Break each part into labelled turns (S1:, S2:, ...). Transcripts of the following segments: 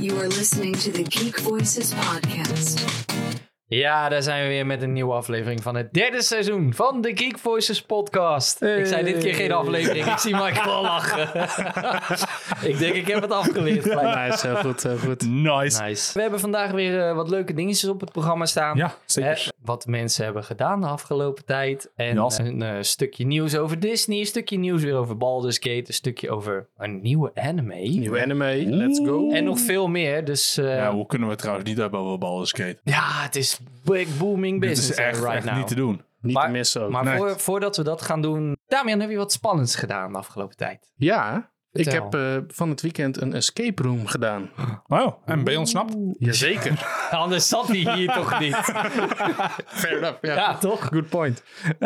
S1: You are listening to the Geek Voices podcast.
S2: Ja, daar zijn we weer met een nieuwe aflevering van het derde seizoen van de Geek Voices podcast. Ik zei dit keer geen aflevering, ik zie Michael al lachen. ik denk, ik heb het afgeleerd. gelijk.
S3: Nice, heel goed, heel goed.
S4: Nice.
S2: Nice. We hebben vandaag weer eh, wat leuke dingetjes op het programma staan.
S4: Ja, zeker.
S3: Eh,
S2: Hè, wat mensen hebben gedaan de afgelopen tijd. En
S4: Ja, zeker.
S2: een eh, stukje nieuws over Disney, een stukje nieuws weer over Baldur's Gate, een stukje over een nieuwe anime.
S3: Nieuw anime, let's go.
S2: Eh, En nog veel meer, dus eh,
S4: Ja,
S2: ja,
S4: hoe kunnen we trouwens niet hebben over Baldur's Gate?
S2: het is big booming
S4: Dit
S2: business
S4: is echt,
S2: eh, right
S4: echt
S2: now.
S4: niet te doen.
S3: Niet
S2: Maar-
S3: te missen ook.
S2: Maar
S4: Nee.
S2: voor, voordat we dat gaan doen, Damian, heb je wat spannends gedaan de afgelopen tijd?
S3: ja, ik
S2: Vertel.
S3: heb eh, van het weekend een escape room gedaan.
S4: Oh, en ben je ontsnapt?
S3: Jazeker.
S2: Anders zat hij hier toch niet.
S3: Fair enough, ja.
S2: Ja, toch?
S3: Good point.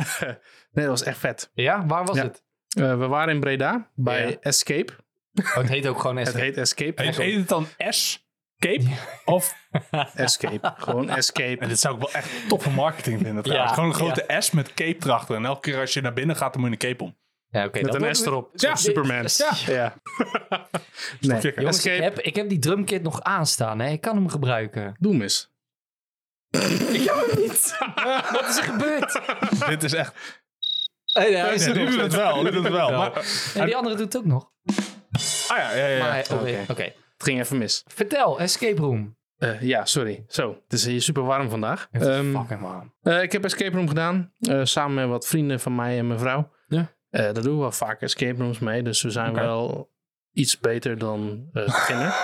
S3: nee, dat was echt vet.
S2: Ja, waar was
S3: Ja.
S2: het?
S3: Eh, we waren in Breda bij
S2: Ja.
S3: Escape.
S2: Oh, het heet ook gewoon
S3: Het
S2: SV.
S3: heet Escape.
S4: Heet,
S3: Gewoon
S4: heet het dan S? Cape? Of,
S3: Escape. Gewoon
S4: en
S3: Escape.
S4: dit zou ik wel echt toffe marketing vinden trouwens.
S2: Ja,
S4: Gewoon een grote S met cape erachter. En elke keer als je naar binnen gaat, dan moet je een cape om.
S2: Ja, oké.
S3: Met
S2: dat
S3: een
S2: wordt-
S3: S erop.
S4: Ja.
S3: Superman.
S2: Ja.
S3: Ja. nee,
S4: Jongens,
S2: Jongens, ik
S3: Escape.
S2: heb, ik heb die drumkit nog aanstaan. Hè. Ik kan hem gebruiken.
S3: Doe hem eens.
S2: Wat is er gebeurd?
S4: Dit is echt...
S2: Hey, daar is
S4: Nee,
S2: het
S4: nu
S2: nog.
S4: doet het wel, nu doet het wel. Maar,
S2: En die andere doet het ook nog.
S4: ah ja, ja, ja.
S2: Maar
S4: ja.
S2: hij- Oké.
S3: Oké.
S2: oké.
S3: Het ging even mis.
S2: Vertel, Escape Room.
S3: Eh, ja, sorry. Zo, het is hier super warm vandaag. Ehm,
S2: Fucking man.
S3: Eh, ik heb escape room gedaan. eh, samen met wat vrienden van mij en mijn vrouw.
S2: Ja.
S3: Eh, daar doen we wel vaak escape rooms mee. Dus we zijn
S4: Oké.
S3: wel iets beter dan eh beginner.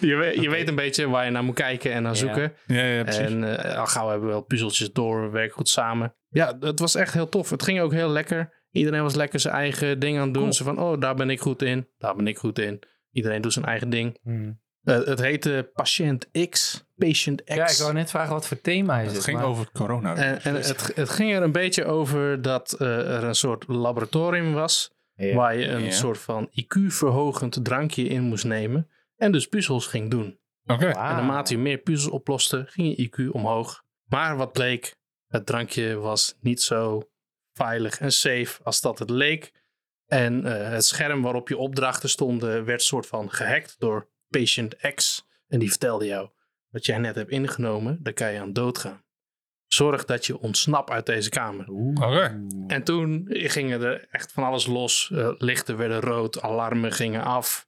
S3: je, weet, je weet een beetje waar je naar moet kijken en naar
S2: Ja.
S3: zoeken.
S4: Ja, ja, precies.
S3: En eh, al gauw hebben we wel puzzeltjes door. We werken goed samen. Ja, het was echt heel tof. Het ging ook heel lekker. Iedereen was lekker zijn eigen ding aan het doen.
S4: Cool.
S3: Ze van, oh, daar ben ik goed in. Daar ben ik goed in. Iedereen doet zijn eigen ding.
S2: Hmm.
S3: Eh, het heette Patiënt X. Patient X.
S2: Ja, ik wou net vragen wat voor thema is
S4: het
S2: het.
S4: ging
S2: maar-
S4: over corona.
S3: En, Eh, en het, het ging er een beetje over dat eh, er een soort laboratorium was.
S2: Ja.
S3: Waar je een
S4: Ja.
S3: soort van IQ-verhogend drankje in moest nemen. En dus puzzels ging doen.
S4: Oké.
S2: Ah.
S3: En naarmate je meer puzzels oploste, ging je IQ omhoog. Maar wat bleek, het drankje was niet zo veilig en safe als dat het leek. En eh, het scherm waarop je opdrachten stonden werd soort van gehackt door Patient X. En die vertelde jou, wat jij net hebt ingenomen, daar kan je aan doodgaan. Zorg dat je ontsnapt uit deze kamer.
S4: Oké.
S3: En toen gingen er echt van alles los. Eh, lichten werden rood, alarmen gingen af,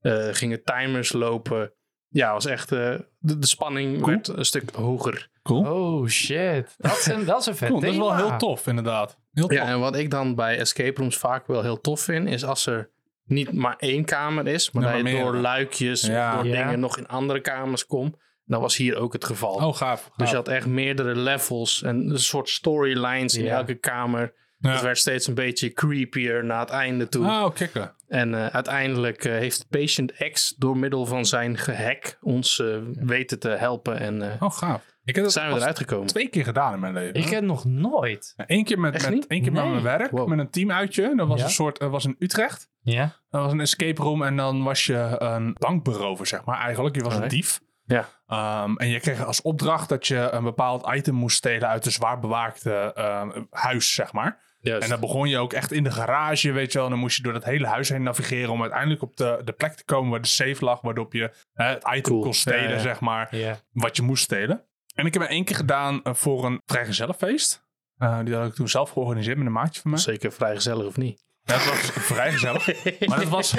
S3: eh, gingen timers lopen. Ja, was echt. eh, de, de spanning werd een stuk hoger.
S4: Cool.
S2: Oh shit. Dat is een, dat is een vet
S4: Cool, Dat is wel
S2: thema.
S4: heel tof, inderdaad. Heel tof.
S3: Ja, en wat ik dan bij escape rooms vaak wel heel tof vind, is als er niet maar één kamer is, maar
S4: Nee,
S3: dat
S4: maar
S3: je
S4: meerdere.
S3: door luikjes, of
S4: Ja.
S3: door
S2: Ja.
S3: dingen nog in andere kamers komt. Dat was hier ook het geval.
S4: Oh, gaaf.
S3: Dus
S4: gaaf.
S3: je had echt meerdere levels en een soort storylines in
S2: Ja.
S3: elke kamer.
S4: Ja.
S3: Het werd steeds een beetje creepier naar het einde toe.
S4: Oh, kikker.
S3: En eh, uiteindelijk eh, heeft Patient X door middel van zijn gehack ons eh, weten te helpen. En eh,
S4: Oh, gaaf. Ik heb dat
S3: zijn we
S4: pas
S3: eruit gekomen.
S4: twee keer gedaan in mijn leven.
S2: Ik heb nog nooit.
S4: Eén keer met,
S3: Echt
S4: met,
S3: niet?
S4: één keer
S2: Nee.
S4: met mijn werk,
S3: Wow.
S4: met een teamuitje. Dat was
S2: Ja.
S4: een soort, dat was in Utrecht.
S2: Ja.
S4: Dat was een escape room en dan was je een bankberover, zeg maar. Eigenlijk, je was
S3: Oké.
S4: een dief.
S3: Ja.
S4: Ehm, en je kreeg als opdracht dat je een bepaald item moest stelen uit een zwaar bewaakte ehm, huis, zeg maar. En dan begon je ook echt in de garage, weet je wel. En dan moest je door dat hele huis heen navigeren om uiteindelijk op de, de plek te komen waar de safe lag. Waarop je eh, het item
S3: Cool.
S4: kon stelen,
S3: Ja, ja.
S4: zeg maar
S2: Ja.
S4: wat je moest stelen. En ik heb er één keer gedaan eh, voor een vrijgezellenfeest. Eh, die had ik toen zelf georganiseerd met een maatje van mij.
S3: Zeker vrijgezellig of niet?
S4: Dat was vrijgezellig. Maar dat was...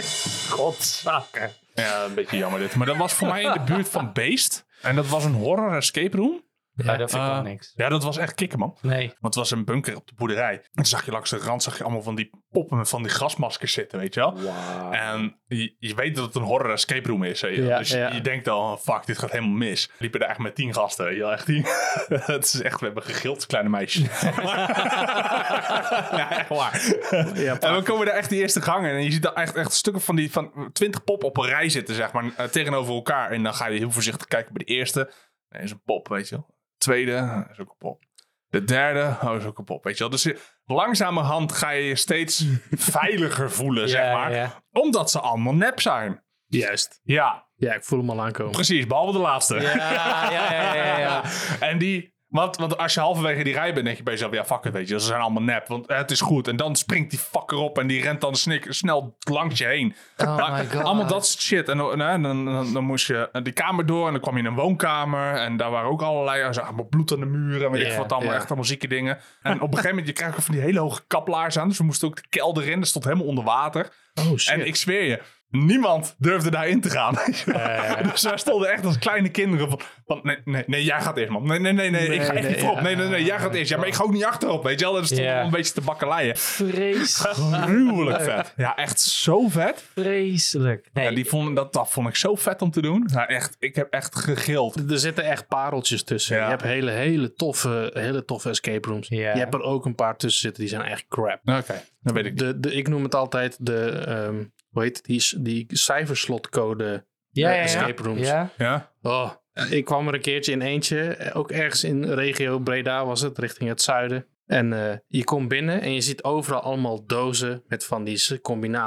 S2: Godzakken.
S4: Ja, een beetje jammer dit. Maar dat was voor mij in de buurt van Beest. En dat was een horror escape room.
S2: Ja, dat vind ik
S4: Eh,
S2: ook niks.
S4: Ja, dat was echt kicken, man.
S2: Nee.
S4: Want het was een bunker op de boerderij. En toen zag je langs de rand zag je allemaal van die poppen met van die gasmaskers zitten, weet je wel. En je, je weet dat het een horror escape room is. Hè, joh.
S3: Ja,
S4: dus je-
S3: ja.
S4: je denkt al, oh, fuck, dit gaat helemaal mis. Liepen er echt met tien gasten. weet je wel, echt tien. het is echt, we hebben gegild, kleine meisjes. ja, echt waar. en we komen daar echt die eerste gang in. En je ziet daar echt, echt stukken van die van twintig pop op een rij zitten, zeg maar, eh, tegenover elkaar. En dan ga je heel voorzichtig kijken bij de eerste. Nee, is een pop, weet je wel. Tweede, is ook een pop. De derde, oh, is ook een pop, weet je wel. Dus je- langzamerhand ga je je steeds veiliger voelen, zeg maar
S2: Ja.
S4: omdat ze allemaal nep zijn.
S3: Juist.
S4: Ja,
S3: Ja, ik voel hem al aankomen.
S4: precies. Behalve de laatste.
S2: Ja, ja, ja, ja, ja.
S4: En die Want, want als je halverwege die rij bent, denk je bij jezelf, ja, fuck it, weet je. Ze zijn allemaal nep, want eh, het is goed. En dan springt die fucker op en die rent dan snik, snel langs je heen.
S2: Oh my god.
S4: Allemaal dat soort shit. En dan, dan, dan, dan, dan moest je eh, die kamer door en dan kwam je in een woonkamer. En daar waren ook allerlei er zat allemaal bloed aan de muren. En weet ik
S3: Ja,
S4: wat allemaal,
S3: ja.
S4: echt allemaal zieke dingen. En op een gegeven moment, je krijgt ook van die hele hoge kaplaars aan. Dus we moesten ook de kelder in. Dat stond helemaal onder water.
S3: Oh shit.
S4: En ik zweer je, niemand durfde daarin te gaan. weet je wel.
S3: Eh.
S4: Dus wij stonden echt als kleine kinderen van... van, nee, nee, nee, jij gaat eerst, man. Nee, nee, nee, nee, ik ga echt
S3: nee,
S4: niet voorop.
S3: ja.
S4: Nee, nee, nee, jij gaat eerst. Ja, maar ik ga ook niet achterop, weet je wel. En dan stonden
S2: Ja.
S4: we een beetje te bakkeleien.
S2: Vreselijk.
S4: Gruwelijk vet. Ja, echt zo vet.
S2: Vreselijk. Nee,
S4: Ja, die vonden, dat, dat vond ik zo vet om te doen. Ja, echt, ik heb echt gegild.
S3: Er zitten echt pareltjes tussen.
S4: Ja.
S3: Je hebt hele, hele, toffe, hele toffe escape rooms.
S2: Ja.
S3: Je hebt er ook een paar tussen zitten die zijn echt crap.
S4: Oké, dat weet ik niet.
S3: De, de, ik noem het altijd de, ehm, hoe heet het, die, s- die cijferslotcode eh,
S2: ja, ja, ja.
S3: escape rooms.
S2: Ja?
S4: Ja?
S3: Oh, ik kwam er een keertje in eentje, eh, ook ergens in regio Breda was het, richting het zuiden. En eh, je komt binnen en je ziet overal allemaal dozen met van die s-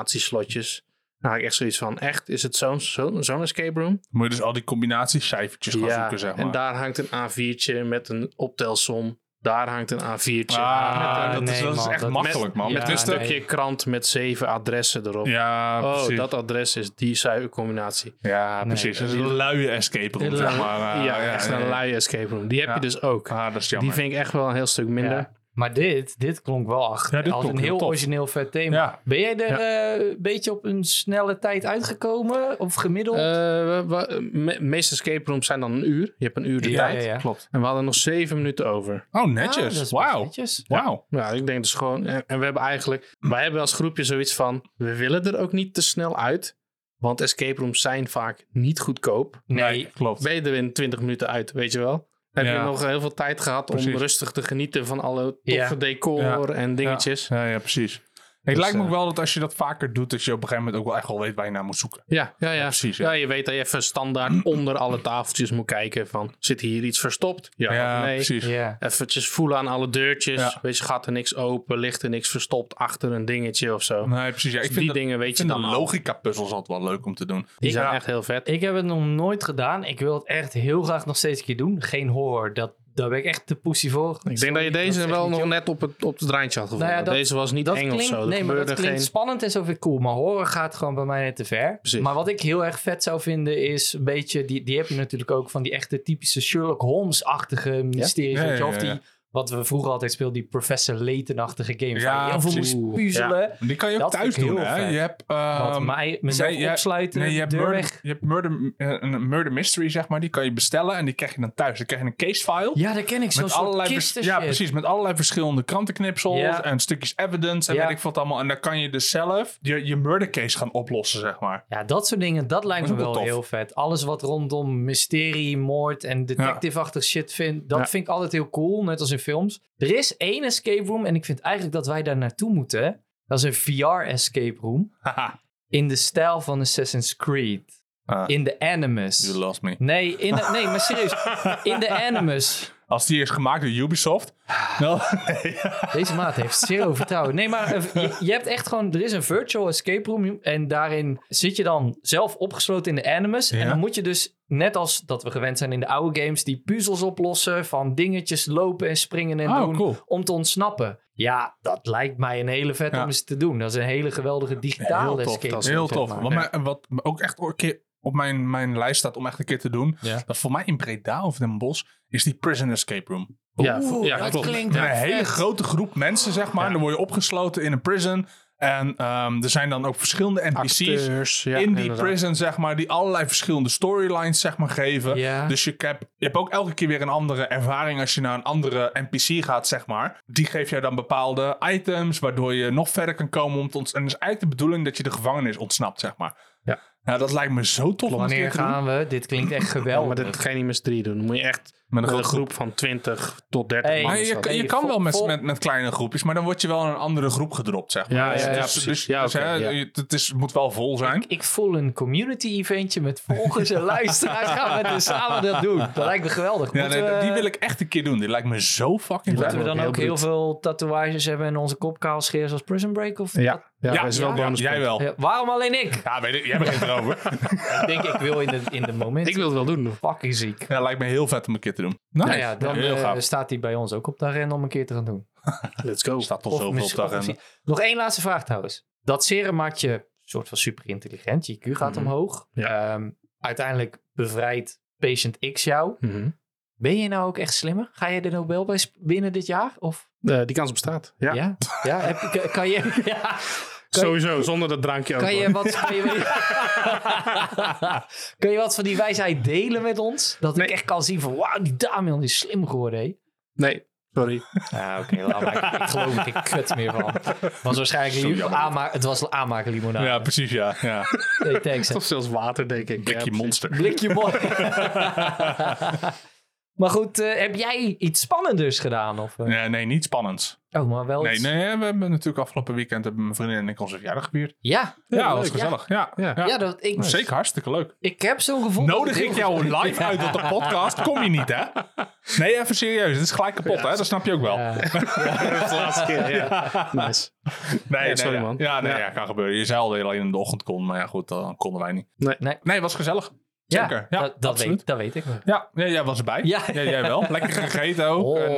S3: combinatieslotjes. Nou, ik echt zoiets van, echt, is het zo'n zo'n zo'n escape room?
S4: Moet je dus al die combinatiecijfertjes gaan zoeken, zeg maar.
S3: en daar hangt een A4'tje met een optelsom. Daar hangt een A4'tje.
S4: Ah,
S3: met
S4: dat,
S3: een,
S4: is,
S2: nee,
S4: dat is
S2: man,
S4: echt
S2: dat-
S4: makkelijk,
S2: met-
S4: man. Met
S2: ja,
S3: een
S4: dus de-
S3: stukje krant met zeven adressen erop.
S4: ja,
S3: oh,
S4: precies.
S3: dat adres is die cijfercombinatie.
S4: Ja,
S2: Nee,
S4: precies. dat is een luie escape room,
S2: Een
S4: zeg
S2: lui-
S4: maar.
S3: ja,
S4: Eh,
S3: echt een lui escape room. Die heb
S4: Ja.
S3: je dus ook.
S4: Ah, dat is
S3: die
S4: jammer.
S3: vind ik echt wel een heel stuk minder.
S2: Ja. Maar dit, dit klonk wel achter.
S4: Ja, dit
S2: als
S4: klonk
S2: een
S4: heel
S2: heel
S4: tof.
S2: origineel vet thema.
S4: Ja.
S2: Ben jij er eh, een beetje op een snelle tijd uitgekomen? Of gemiddeld?
S3: Eh, we- we- me- meeste escape rooms zijn dan een uur. Je hebt een uur de
S2: Ja,
S3: tijd.
S2: ja, ja.
S4: Klopt.
S3: En we hadden nog zeven minuten over.
S2: Ah,
S4: Oh,
S2: dat is
S4: netjes.
S2: best
S4: Wauw.
S2: netjes.
S4: Wauw.
S3: Nou, ik denk dus gewoon... En, en we hebben eigenlijk... Wij hebben als groepje zoiets van... We willen er ook niet te snel uit. Want escape rooms zijn vaak niet goedkoop.
S2: Nee.
S4: Klopt.
S3: Ben je er in 20 minuten uit, weet je wel? Heb
S4: Ja.
S3: je nog heel veel tijd gehad om
S4: Precies.
S3: rustig te genieten van alle toffe
S2: Ja.
S3: decor
S4: Ja.
S3: en dingetjes? Ja,
S4: Ja, ja, precies. het
S3: Dus,
S4: lijkt me
S3: eh,
S4: ook wel dat als je dat vaker doet, dat je op een gegeven moment ook wel echt wel weet waar je naar moet zoeken.
S3: ja, ja. ja.
S4: precies, ja.
S3: Ja, je weet dat je even standaard onder alle tafeltjes moet kijken van... Zit hier iets verstopt? Ja, of nee?
S4: precies.
S2: Ja.
S3: Eventjes voelen aan alle deurtjes.
S4: Ja.
S3: Weet je, gaat er niks open? Ligt er niks verstopt achter een dingetje of zo?
S4: Nee, precies. Ja, ik
S3: Dus
S4: vind
S3: die
S4: dat-
S3: dingen weet je
S4: Ik vind
S3: dan
S4: de
S3: al.
S4: logica-puzzels altijd wel leuk om te doen.
S3: Die
S2: Ik-
S3: zijn
S4: ja.
S3: echt heel vet.
S2: Ik heb het nog nooit gedaan. Ik wil het echt heel graag nog steeds een keer doen. Geen horror. Dat, daar ben ik echt te pussy voor.
S3: Ik denk dat je deze wel nog net op het, op het draantje had gevonden.
S2: Nou ja, dat-
S3: deze was niet
S2: dat
S3: eng
S2: klinkt,
S3: of zo.
S2: Nee,
S3: Er
S2: maar dat
S3: gebeurde
S2: klinkt
S3: geen...
S2: spannend en zo vind ik cool. Maar horror gaat gewoon bij mij net te ver.
S3: Precies.
S2: Maar wat ik heel erg vet zou vinden is een beetje... Die, die heb je natuurlijk ook van die echte typische Sherlock Holmes-achtige mysteries.
S4: Ja,
S2: weet je,
S4: ja,
S2: Of
S4: ja, ja.
S2: die, wat we vroeger altijd speelden, die Professor Layton-achtige games.
S4: Ja,
S2: waar je heel veel
S4: precies.
S2: moest puzzelen.
S4: Die kan je ook
S2: Dat
S4: thuis
S2: vind ik
S4: doen,
S2: heel
S4: hè?
S2: vet.
S4: Je hebt...
S2: Wat
S4: ehm,
S2: mij, mezelf
S4: nee, je-
S2: opsluiten,
S4: Nee, je hebt,
S2: deur
S4: murder,
S2: weg.
S4: je hebt murder, eh, een murder mystery, zeg maar. Die kan je bestellen en die krijg je dan thuis. Dan krijg je een case file.
S2: Ja, dat ken ik. Zo'n
S4: met
S2: soort
S4: allerlei vers-
S2: kisten
S4: ja,
S2: shit.
S4: precies. Met allerlei verschillende krantenknipsels
S2: Ja.
S4: en stukjes evidence en
S2: Ja.
S4: weet ik wat allemaal. En dan kan je dus zelf je, je murder case gaan oplossen, zeg maar.
S2: Ja, dat soort dingen, dat lijkt
S4: Dat
S2: me
S4: is ook
S2: wel
S4: wel tof.
S2: heel vet. Alles wat rondom mysterie, moord en detective-achtig shit vind, dat
S3: Ja.
S2: vind ik altijd heel cool, net als in films. Er is één escape room en ik vind eigenlijk dat wij daar naartoe moeten. Dat is een VR-escape room
S4: Haha,
S2: in de stijl van Assassin's Creed.
S4: Ah.
S2: In de Animus.
S4: you lost me.
S2: Nee, in de, nee, maar serieus. In de Animus.
S4: Als die is gemaakt door Ubisoft. nou,
S2: Deze maat heeft zero vertrouwen. Nee, maar eh, je, je hebt echt gewoon... Er is een virtual escape room en daarin zit je dan zelf opgesloten in de Animus.
S4: Ja.
S2: En dan moet je dus, net als dat we gewend zijn in de oude games... die puzzels oplossen van dingetjes lopen en springen en
S4: Oh,
S2: doen...
S4: cool.
S2: om te ontsnappen. Ja, dat lijkt mij een hele vet
S4: Ja.
S2: om eens te doen. Dat is een hele geweldige digitale
S4: heel tof.
S2: escape room.
S3: dat is
S4: heel
S3: zeg
S4: tof.
S3: maar.
S4: Wat, mij- wat ook echt een keer op mijn, mijn lijst staat om echt een keer te doen.
S2: Ja.
S4: Dat voor mij in Breda of Den Bosch is die prison escape room.
S3: Ja,
S2: Oeh,
S3: vo- ja,
S2: dat
S3: klopt.
S2: klinkt
S4: Met een
S2: wel vet.
S4: hele grote groep mensen, zeg maar. Dan word je opgesloten in een prison. En ehm, er zijn dan ook verschillende NPC's.
S3: Acteurs, ja,
S4: in die
S3: inderdaad.
S4: prison, zeg maar, die allerlei verschillende storylines, zeg maar, geven.
S2: Ja.
S4: Dus je hebt, je hebt ook elke keer weer een andere ervaring als je naar een andere NPC gaat, zeg maar. Die geeft jou dan bepaalde items, waardoor je nog verder kan komen om te ont- En het is eigenlijk de bedoeling dat je de gevangenis ontsnapt, zeg maar.
S3: Ja.
S4: Nou, dat lijkt me zo tof om een keer
S2: Wanneer
S4: te doen.
S2: gaan we? Dit klinkt echt
S3: Ja, maar
S2: geweldig.
S3: dat ga je niet met z'n drie doen. Dan moet je echt
S4: Met
S3: met
S4: een
S3: een,
S4: grote
S3: groep van 20 tot 30
S2: Hey. Ah,
S3: man.
S4: Maar
S3: of
S4: je,
S3: zo.
S4: kan- je
S2: Nee,
S4: kan
S2: vol-
S4: wel met,
S2: vol-
S4: met, met kleine groepjes, maar dan word je wel in een andere groep gedropt, zeg maar.
S3: Ja, ja,
S4: Dus-
S3: ja,
S4: dus-
S3: precies.
S4: dus-
S3: Ja,
S4: dus,
S3: oké,
S4: hè,
S3: ja.
S4: je- Het, is, het moet wel vol zijn.
S2: Ik voel een community-eventje met volgers en luisteraars. Gaan we dus samen dat doen? Dat lijkt me geweldig.
S4: Ja,
S2: Moeten
S4: nee,
S2: we-
S3: eh,
S4: die wil ik echt een keer doen. Die lijkt me zo fucking
S2: Moeten we
S4: leuk.
S2: dan
S3: Heel
S2: ook heel
S3: bruut.
S2: veel tatoeages hebben en onze kop kaal scheren zoals Prison Break? Of dat-
S3: Ja, ja,
S4: Ja, Oh.
S3: dat is wel
S4: ja,
S3: bonuspunt.
S4: jij wel.
S2: Ja, waarom alleen ik?
S4: Ja, weet ik, jij begint erover.
S2: ik denk, ik wil in de, in de moment.
S3: Ik wil het wel doen.
S2: fucking ziek.
S4: Ja, lijkt me heel vet om een keer te te doen.
S2: Nou ja, dan
S4: heel
S2: eh,
S4: gaaf.
S2: staat hij bij ons ook op de agenda om een keer te gaan doen.
S3: Let's go.
S4: Er staat toch
S2: Of
S4: zoveel op
S2: misschien-
S4: de
S2: of
S4: agenda.
S2: misschien- Nog één laatste vraag trouwens. Dat serum maakt je soort van super intelligent. Je IQ gaat
S4: Mhm.
S2: omhoog. Ehm, uiteindelijk bevrijdt patient X jou.
S3: Mhm.
S2: Ben je nou ook echt slimmer? Ga je de Nobelprijs winnen dit jaar? Of,
S3: Eh, die kans bestaat. Ja.
S2: ja? Ja, heb je- kan- kan je... Ja. Kan-
S3: Sowieso, zonder dat drankje ook.
S2: Kan
S3: hoor.
S2: je, wat, kan, je, kan je wat van die wijsheid delen met ons? Dat ik echt kan zien van, wauw, die Damian is slim geworden, hé.
S3: Nee, sorry.
S2: Ja, oké, laat maar. Ik, ik geloof er geen kut meer van. Was waarschijnlijk
S4: Sorry,
S2: li-
S4: jammer.
S2: aanma- het was aanmaken limonade.
S4: Ja, precies, ja. ja.
S2: Nee, thanks. hè.
S3: Of zelfs water, denk ik. Ja,
S4: Blikje
S3: precies.
S4: monster.
S2: Blikje mooi. maar goed, eh, heb jij iets spannenders gedaan? Of, eh?
S4: Nee, nee, niet spannend.
S2: Oh, maar wel
S4: Nee,
S2: iets-
S4: nee, we hebben natuurlijk afgelopen weekend hebben mijn vriendin en ik onze verjaardag gevierd.
S2: Ja,
S4: Ja, dat was
S3: leuk.
S4: gezellig. Ja, ja.
S2: ja dat, ik,
S4: Zeker hartstikke leuk.
S2: ik heb zo'n gevoel. dat
S4: Nodig
S2: heel
S4: ik jou live uit op de podcast? Kom je niet, hè? Nee, even serieus. Het is gelijk kapot, hè? Dat snap je ook wel.
S2: Ja.
S3: Dat is de laatste keer, ja. Nice.
S4: Nee, nee,
S3: sorry,
S4: ja.
S3: man.
S4: Ja, nee,
S3: Ja.
S4: ja. kan gebeuren. Je zei al dat je alleen in de ochtend kon, maar ja, goed, dan konden wij niet.
S3: Nee.
S2: Nee.
S4: Nee, was gezellig.
S2: Ja,
S4: Zeker. Ja,
S2: dat, dat,
S4: absoluut.
S2: weet, dat weet ik.
S4: Ja, ja, jij was erbij.
S2: Ja.
S4: jij wel. Lekker gegeten ook.
S2: Oh.
S4: En,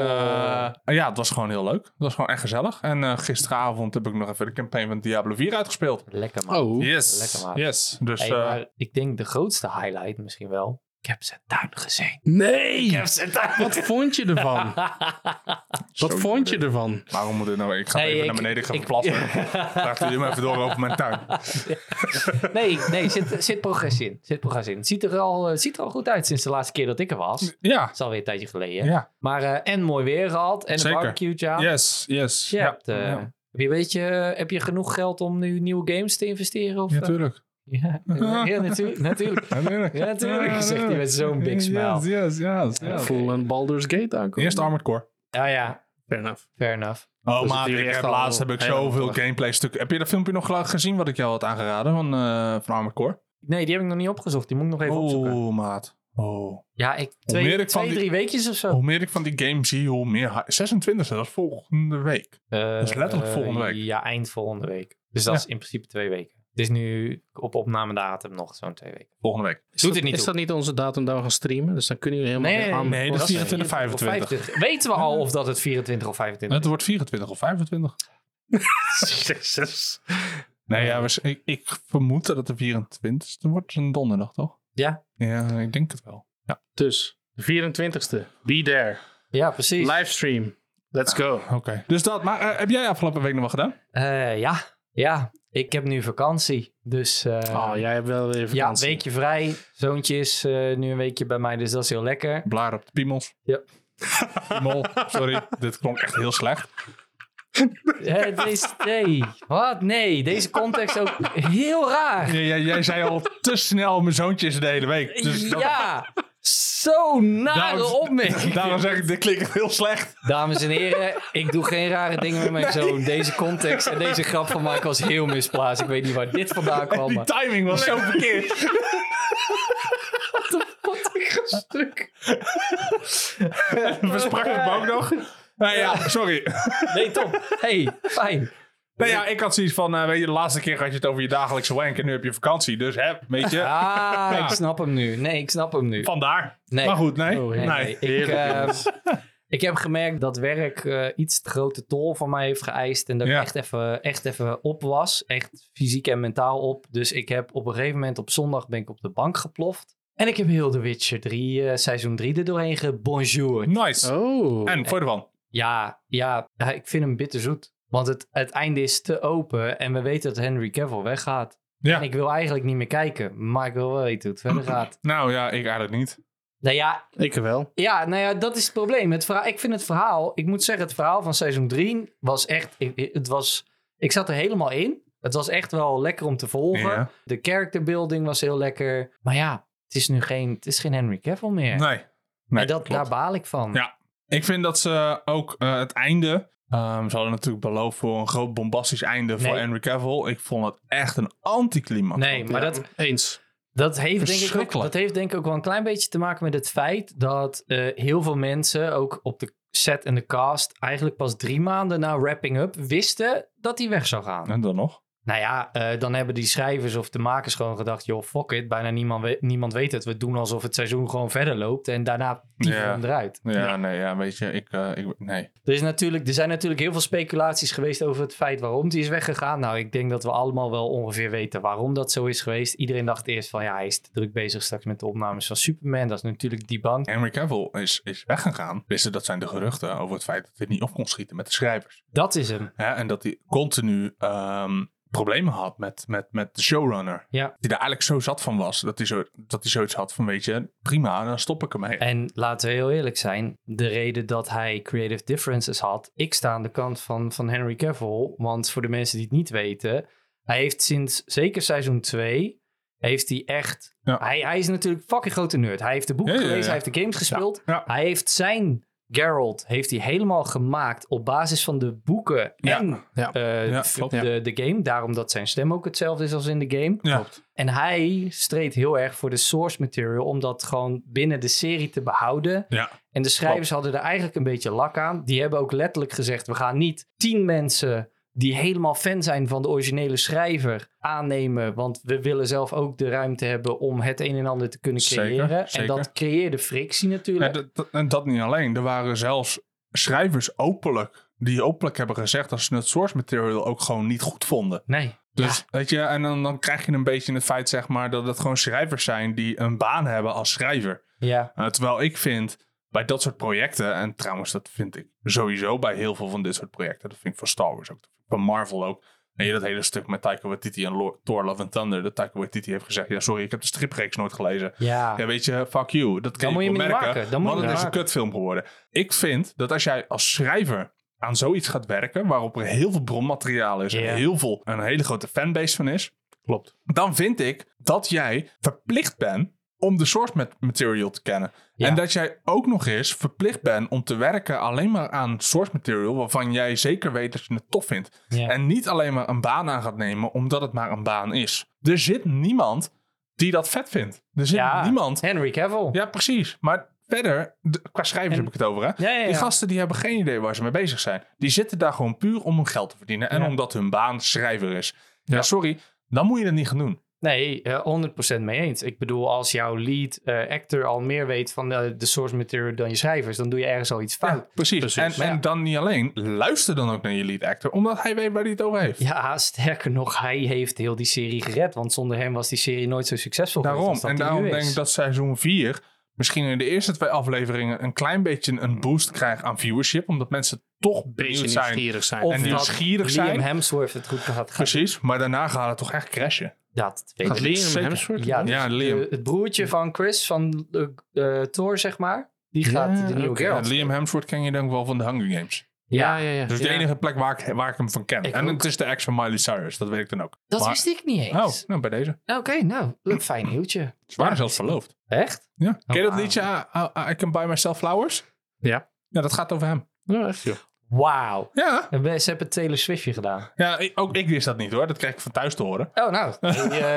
S4: eh, ja, het was gewoon heel leuk. Het was gewoon echt gezellig. En eh, gisteravond heb ik nog even de campaign van Diablo 4 uitgespeeld.
S2: Lekker man.
S3: Oh.
S4: Yes.
S2: Lekker, maat.
S4: yes. Dus
S2: Hey,
S4: eh,
S2: maar ik denk de grootste highlight misschien wel. Ik heb zijn tuin gezien.
S3: Nee!
S2: zijn tuin
S3: Wat vond je ervan? Wat
S4: Zo
S3: vond je ervan?
S4: waarom moet dit nou... Ik ga
S2: Nee,
S4: even
S2: ik-
S4: naar beneden, ik ga
S2: ik-
S4: even plassen. Laat jullie maar even door over mijn tuin.
S2: Nee, nee zit, zit progressie in. Zit progressie in. Het ziet er, al, eh, het ziet er al goed uit sinds de laatste keer dat ik er was. Het
S4: Ja.
S2: is alweer een tijdje geleden.
S4: Ja.
S2: Maar eh, en mooi weer gehad. En een
S4: Zeker.
S2: barbecue, ja.
S4: Yes, yes.
S2: Je hebt, eh,
S4: ja.
S2: Heb je, een beetje, eh, heb je genoeg geld om nu nieuwe games te investeren? Of,
S4: Ja,
S2: eh?
S4: tuurlijk.
S2: ja, eh, ja, natuurlijk. natuurlijk.
S4: Natuurlijk.
S2: Ja, natuurlijk, zegt hij met zo'n big smile.
S4: Yes, yes, yes.
S2: Ja.
S4: yes.
S3: Voel een Baldur's Gate aankomen.
S4: Eerst Armored Core.
S2: Ah ja,
S3: Fair enough.
S2: fair enough.
S4: Oh,
S3: Dus
S4: maat,
S3: het
S4: ik
S3: duurde
S4: heb
S3: echt al
S4: laatst heb ik
S3: heel lang
S4: zoveel
S3: terug.
S4: gameplay-stukken. Heb je dat filmpje nog eh, gezien wat ik jou had aangeraden van, eh van Armored Core?
S2: Nee, die heb ik nog niet opgezocht. Die moet ik nog even opzoeken.
S4: Oh, maat. Oh.
S2: Ja, ik,
S4: meer
S2: twee,
S4: ik van
S2: twee
S4: die-
S2: drie weekjes of zo.
S4: Hoe meer ik van die game zie, hoe meer... hy- 26, dat is volgende week.
S2: dat
S4: is letterlijk volgende week.
S2: Eh, Ja, eind volgende week. Dus dat
S4: Ja.
S2: is in principe twee weken. Het is nu op opnamedatum nog zo'n twee weken.
S4: Volgende week.
S2: Doet
S3: Is dat,
S2: het niet
S3: Is
S2: toe.
S3: dat niet onze datum dat we gaan streamen? Dus dan kunnen jullie helemaal geen aan-
S4: nee, dat is
S2: dat
S4: 24, 25.
S2: Weten we al of dat het 24 of 25
S4: Het
S2: is?
S4: wordt 24 of 25.
S3: Jezus.
S4: Nee, ja, we- ik, ik vermoed dat het de 24 e wordt. een donderdag, toch?
S2: Ja.
S4: Ja, ik denk het wel.
S3: Dus, de 24e. Be there.
S2: Ja, precies.
S3: Livestream. Let's go.
S4: Oké. Dus dat, maar eh, heb jij afgelopen week nog wat gedaan?
S2: Eh, ja, ja. Ik heb nu vakantie. Dus
S4: Ah,
S2: eh,
S3: Oh, jij hebt wel weer
S2: ja,
S3: vakantie.
S2: weekje vrij. Zoontje is eh, nu een weekje bij mij, dus dat is heel lekker.
S4: Blaar op de piemels.
S2: Ja.
S4: Piemel, sorry. Dit klonk echt heel slecht.
S2: Eh, deze, nee, wat? Nee, deze context ook heel raar.
S4: Jij, jij, jij zei al te snel, mijn zoontje is er de hele week. Dus dat-
S2: ja, zo'n nare
S4: Daarom-
S2: opmerking.
S4: daarom zeg ik, dit klinkt heel slecht.
S2: Dames en heren, ik doe geen rare dingen met mijn zoon. Deze context en deze grap van Mike was heel misplaatst. Ik weet niet waar dit vandaan kwam.
S4: Die
S2: maar-
S4: timing was zo verkeerd. We spraken hem ook nog. Nou ja, sorry.
S2: Nee, Tom. hey, fijn.
S4: Nou ja, ik had zoiets van, eh, weet je, de laatste keer had je het over je dagelijkse wank en nu heb je vakantie. Dus hè, weet je,
S2: Ah, ik snap hem nu. Nee, ik snap hem nu.
S4: vandaar.
S2: Nee.
S4: Maar goed, nee.
S3: Oh,
S2: Nee,
S4: nee.
S2: nee, Ik,
S3: Heerlijk,
S2: eh,
S3: jongens.
S2: ik heb gemerkt dat werk eh, iets te grote tol van mij heeft geëist. En dat
S4: Ja.
S2: ik echt even, echt even op was. Echt fysiek en mentaal op. Dus ik heb op een gegeven moment op zondag ben ik op de bank geploft. En ik heb heel The Witcher 3, eh, seizoen 3 er doorheen gebonjourd.
S4: Nice.
S3: Oh.
S4: En voor de van.
S2: Ja, ja, ja, ik vind hem bitterzoet. Want het, het einde is te open en we weten dat Henry Cavill weggaat.
S4: Ja.
S2: En ik wil eigenlijk niet meer kijken, maar ik wil wel weten hoe het verder gaat.
S4: Nou ja, ik eigenlijk niet.
S2: Nou ja,
S3: Ik wel.
S2: ja, nou ja, dat is het probleem. Het verhaal, ik vind het verhaal, ik moet zeggen, het verhaal van seizoen 3 was echt, ik, het was, ik zat er helemaal in. Het was echt wel lekker om te volgen.
S4: Ja.
S2: De character building was heel lekker. Maar ja, het is nu geen, het is geen Henry Cavill meer.
S4: Nee. nee
S2: en dat,
S4: klopt.
S2: daar baal ik van.
S4: Ja. Ik vind dat ze ook eh, het einde. ehm ze hadden natuurlijk beloofd voor een groot bombastisch einde voor
S2: Nee.
S4: Henry Cavill. Ik vond het echt een anticlimax.
S2: Nee, maar dat,
S3: Eens.
S2: Dat heeft, denk ik ook,
S4: Verschrikkelijk.
S2: dat heeft denk ik ook wel een klein beetje te maken met het feit dat eh, heel veel mensen, ook op de set en de cast, eigenlijk pas drie maanden na wrapping up wisten dat hij weg zou gaan.
S4: En dan nog?
S2: Nou ja, eh, dan hebben die schrijvers of de makers gewoon gedacht... joh, fuck it, bijna niemand, we- niemand weet het. We doen alsof het seizoen gewoon verder loopt en daarna die
S4: Ja.
S2: hem eruit.
S4: Ja, nee, ja, weet je, ik, eh, ik nee.
S2: Er, is natuurlijk, er zijn natuurlijk heel veel speculaties geweest over het feit waarom die is weggegaan. Nou, ik denk dat we allemaal wel ongeveer weten waarom dat zo is geweest. Iedereen dacht eerst van ja, hij is te druk bezig straks met de opnames van Superman. Dat is natuurlijk die bank.
S4: Henry Cavill is, is weggegaan. Wisten dat zijn de geruchten over het feit dat hij niet op kon schieten met de schrijvers.
S2: Dat is hem.
S4: Ja, en dat hij continu ehm, problemen had met, met, met de showrunner.
S2: Ja.
S4: Die daar eigenlijk zo zat van was, dat hij, zo, dat hij zoiets had van, weet je, prima, dan stop ik ermee.
S2: En laten we heel eerlijk zijn, de reden dat hij creative differences had, ik sta aan de kant van, van Henry Cavill, want voor de mensen die het niet weten, hij heeft sinds zeker seizoen 2, heeft hij echt,
S4: Ja.
S2: hij, hij is natuurlijk fucking grote nerd. Hij heeft de boeken
S4: Ja, ja,
S2: gelezen,
S4: ja.
S2: hij heeft de games gespeeld,
S4: Ja.
S2: hij heeft zijn Geralt, heeft hij helemaal gemaakt op basis van de boeken
S4: Ja.
S2: en
S3: Ja.
S2: eh,
S4: Ja,
S2: v-
S4: klopt.
S2: de, de game, daarom dat zijn stem ook hetzelfde is als in de game.
S4: Ja.
S2: En hij streed heel erg voor de source material om dat gewoon binnen de serie te behouden.
S4: Ja.
S2: En de schrijvers hadden er eigenlijk een beetje lak aan. Die hebben ook letterlijk gezegd: we gaan niet tien mensen die helemaal fan zijn van de originele schrijver aannemen, want we willen zelf ook de ruimte hebben om het een en ander te kunnen
S4: Zeker,
S2: creëren. En
S4: zeker.
S2: dat creëerde frictie
S4: Ja, dus-
S2: natuurlijk.
S4: dat- dat- en dat niet alleen. Er waren zelfs schrijvers openlijk, die openlijk hebben gezegd dat ze het source material ook gewoon niet goed vonden.
S2: nee.
S4: Dus, weet je, en dan, dan krijg je een beetje het feit, zeg maar, dat het gewoon schrijvers zijn die een baan hebben als schrijver.
S2: Ja.
S4: Uh, terwijl ik vind bij dat soort projecten, en trouwens, dat vind ik sowieso bij heel veel van dit soort projecten. Dat vind ik van Star Wars ook, dat vind ik van Marvel ook. En je dat hele stuk met Taika Waititi en Lo- Thor Love and Thunder. Dat Taika Waititi heeft gezegd, ja sorry, ik heb de stripreeks nooit gelezen.
S2: Ja.
S4: Ja, weet je, fuck you. Dat kan
S2: Dan moet
S4: ik
S2: je
S4: wel
S2: hem niet
S4: merken.
S2: maken. Dan moet je
S4: want
S2: hem
S4: het is een
S2: maken.
S4: kutfilm geworden. Ik vind dat als jij als schrijver aan zoiets gaat werken, waarop er heel veel bronmateriaal is
S2: Ja.
S4: en heel veel, een hele grote fanbase van is,
S3: Klopt.
S4: dan vind ik dat jij verplicht bent om de source mat- material te kennen.
S2: Ja.
S4: En dat jij ook nog eens verplicht bent om te werken alleen maar aan source material waarvan jij zeker weet dat je het tof vindt.
S2: Ja.
S4: En niet alleen maar een baan aan gaat nemen omdat het maar een baan is. Er zit niemand die dat vet vindt. Er zit
S2: Ja.
S4: niemand.
S2: Henry Cavill.
S4: Ja, precies. Maar verder, d- qua schrijvers heb ik het over hè.
S2: Ja, ja, ja.
S4: Die gasten die hebben geen idee waar ze mee bezig zijn. Die zitten daar gewoon puur om hun geld te verdienen en
S2: Ja.
S4: omdat hun baan schrijver is. Ja, sorry, dan moet je dat niet gaan doen.
S2: Nee, eh, 100% mee eens. Ik bedoel, als jouw lead eh, actor al meer weet van eh, de source material dan je schrijvers, dan doe je ergens al iets
S4: Ja,
S2: fout.
S4: precies.
S3: Precies.
S4: En,
S2: Ja.
S4: en dan niet alleen, luister dan ook naar je lead actor, omdat hij weet waar hij het over heeft.
S2: Ja. sterker nog, hij heeft heel die serie gered, want zonder hem was die serie nooit zo succesvol
S4: daarom.
S2: geweest. als
S4: En
S2: dat die
S4: daarom
S2: nu
S4: denk
S2: is.
S4: ik dat seizoen 4 misschien in de eerste twee afleveringen een klein beetje een boost krijgt aan viewership, omdat mensen toch
S3: Beetje
S4: bezig zijn.
S3: nieuwsgierig zijn.
S2: Of
S4: en
S2: dat
S4: nieuwsgierig
S2: Liam
S4: zijn.
S2: Hemsworth het goed gaat gaan.
S4: Precies, maar daarna gaat het toch echt crashen.
S2: Dat weet
S3: Gaat
S2: ik.
S4: Liam
S3: Liam
S4: Hemsworth
S3: Hemsworth?
S2: Ja,
S4: Ja,
S2: dus,
S4: Liam.
S2: eh, het broertje van Chris, van eh, eh, Thor, zeg maar, die gaat de nieuwe
S4: Ja,
S2: Geralt.
S4: Liam Hemsworth ken je denk ik wel van de Hunger Games.
S2: Ja, Dus
S3: ja, ja. ja.
S4: Dat is de enige plek waar ik, waar ik hem van ken.
S2: Ik
S4: en
S2: ook.
S4: het is de ex van Miley Cyrus, dat weet ik dan ook.
S2: dat
S4: Maar-
S2: wist ik niet
S4: Oh,
S2: eens.
S4: nou bij deze.
S2: Oké, nou, een fijn nieuwtje.
S4: Ze waren zelfs verloofd.
S2: Echt?
S4: Ja. Ken je dat
S2: wauw.
S4: liedje I, I- I Can Buy Myself Flowers?
S3: Ja.
S4: Ja, dat gaat over hem.
S3: Ja, echt, joh.
S2: Wauw.
S4: Ja,
S2: En we- Ze hebben Taylor Swiftje gedaan.
S4: ja ik- ook ik wist dat niet hoor. Dat kreeg ik van thuis te horen.
S2: Oh, nou. eh,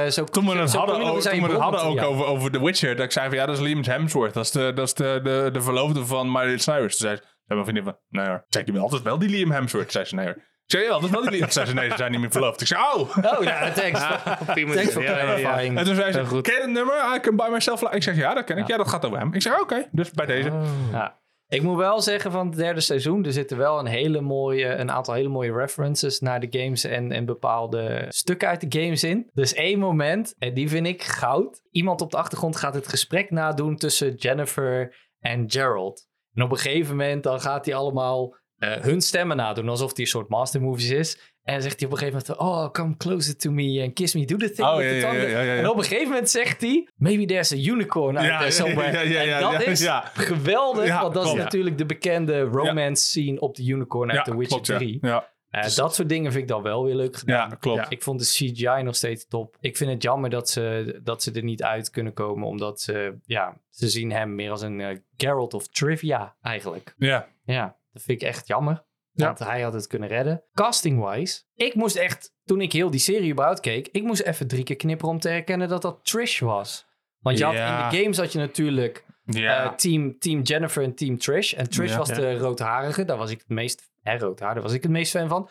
S2: zo,
S4: Toen we het
S2: zo
S4: hadden,
S2: komen
S4: over,
S2: zijn
S4: toen we het
S2: bronnen
S4: hadden
S2: toe,
S4: ook
S2: ja.
S4: over, over The Witcher, dat ik zei van ja, dat is Liam Hemsworth. Dat is de, dat is de, de, de verloofde van Miley Cyrus. Toen zei ze, zei mijn vriendin van, nee hoor. Zeg je wel altijd wel die Liam Hemsworth? Toen zei ze, nee hoor. Ik zei, ja, altijd wel die Liam. Toen zei ze, nee, ze zijn niet meer verloofd. Ik zei, oh!
S2: Oh, nou, thanks.
S3: Op die manier.
S2: thanks voor
S3: Ja, ja, ja.
S2: clarifying.
S4: En toen zei ze, ken je het nummer? I can buy myself flowers. Ik zeg, ja, dat ken ik. Ja, dat gaat over hem. Ik zeg, oké. Dus bij deze.
S2: Oh, Ja. Ik moet wel zeggen van het derde seizoen, er zitten wel een, hele mooie, een aantal hele mooie references naar de games en, en bepaalde stukken uit de games in. Dus één moment, en die vind ik goud. Iemand op de achtergrond gaat het gesprek nadoen tussen Jennifer en Gerald. En op een gegeven moment dan gaat hij allemaal eh, hun stemmen nadoen, alsof hij een soort mastermovies is. En zegt hij op een gegeven moment, oh, come closer to me and kiss me, do the thing
S4: Oh,
S2: with the
S4: ja, ja,
S2: tongue.
S4: ja, ja, ja.
S2: En op een gegeven moment zegt hij, maybe there's a unicorn out
S4: Ja,
S2: there somewhere.
S4: ja, ja, ja,
S2: en dat
S4: ja,
S2: is
S4: ja.
S2: geweldig,
S4: Ja,
S2: want dat is
S4: klopt.
S2: natuurlijk de bekende romance scene op de Unicorn uit The Witcher
S4: klopt, ja.
S2: 3.
S4: Ja,
S2: Eh, dat soort dingen vind ik dan wel weer leuk gedaan.
S4: ja klopt.
S2: Ik vond de CGI nog steeds top. Ik vind het jammer dat ze, dat ze er niet uit kunnen komen, omdat ze, ja, ze zien hem meer als een eh, Geralt of Trivia eigenlijk.
S4: Ja.
S2: Ja, dat vind ik echt jammer.
S3: Ja.
S2: Want hij had het kunnen redden. Casting-wise, ik moest echt, toen ik heel die serie überhaupt keek, ik moest even drie keer knipperen om te herkennen dat dat Trish was. Want je had,
S4: Ja.
S2: in de games had je natuurlijk
S4: Ja.
S2: eh, team, team Jennifer en Team Trish. En Trish
S4: Ja.
S2: was
S4: Ja.
S2: de roodharige. Daar was ik het meest... Hè, roodhaar, daar was ik het meest fan van.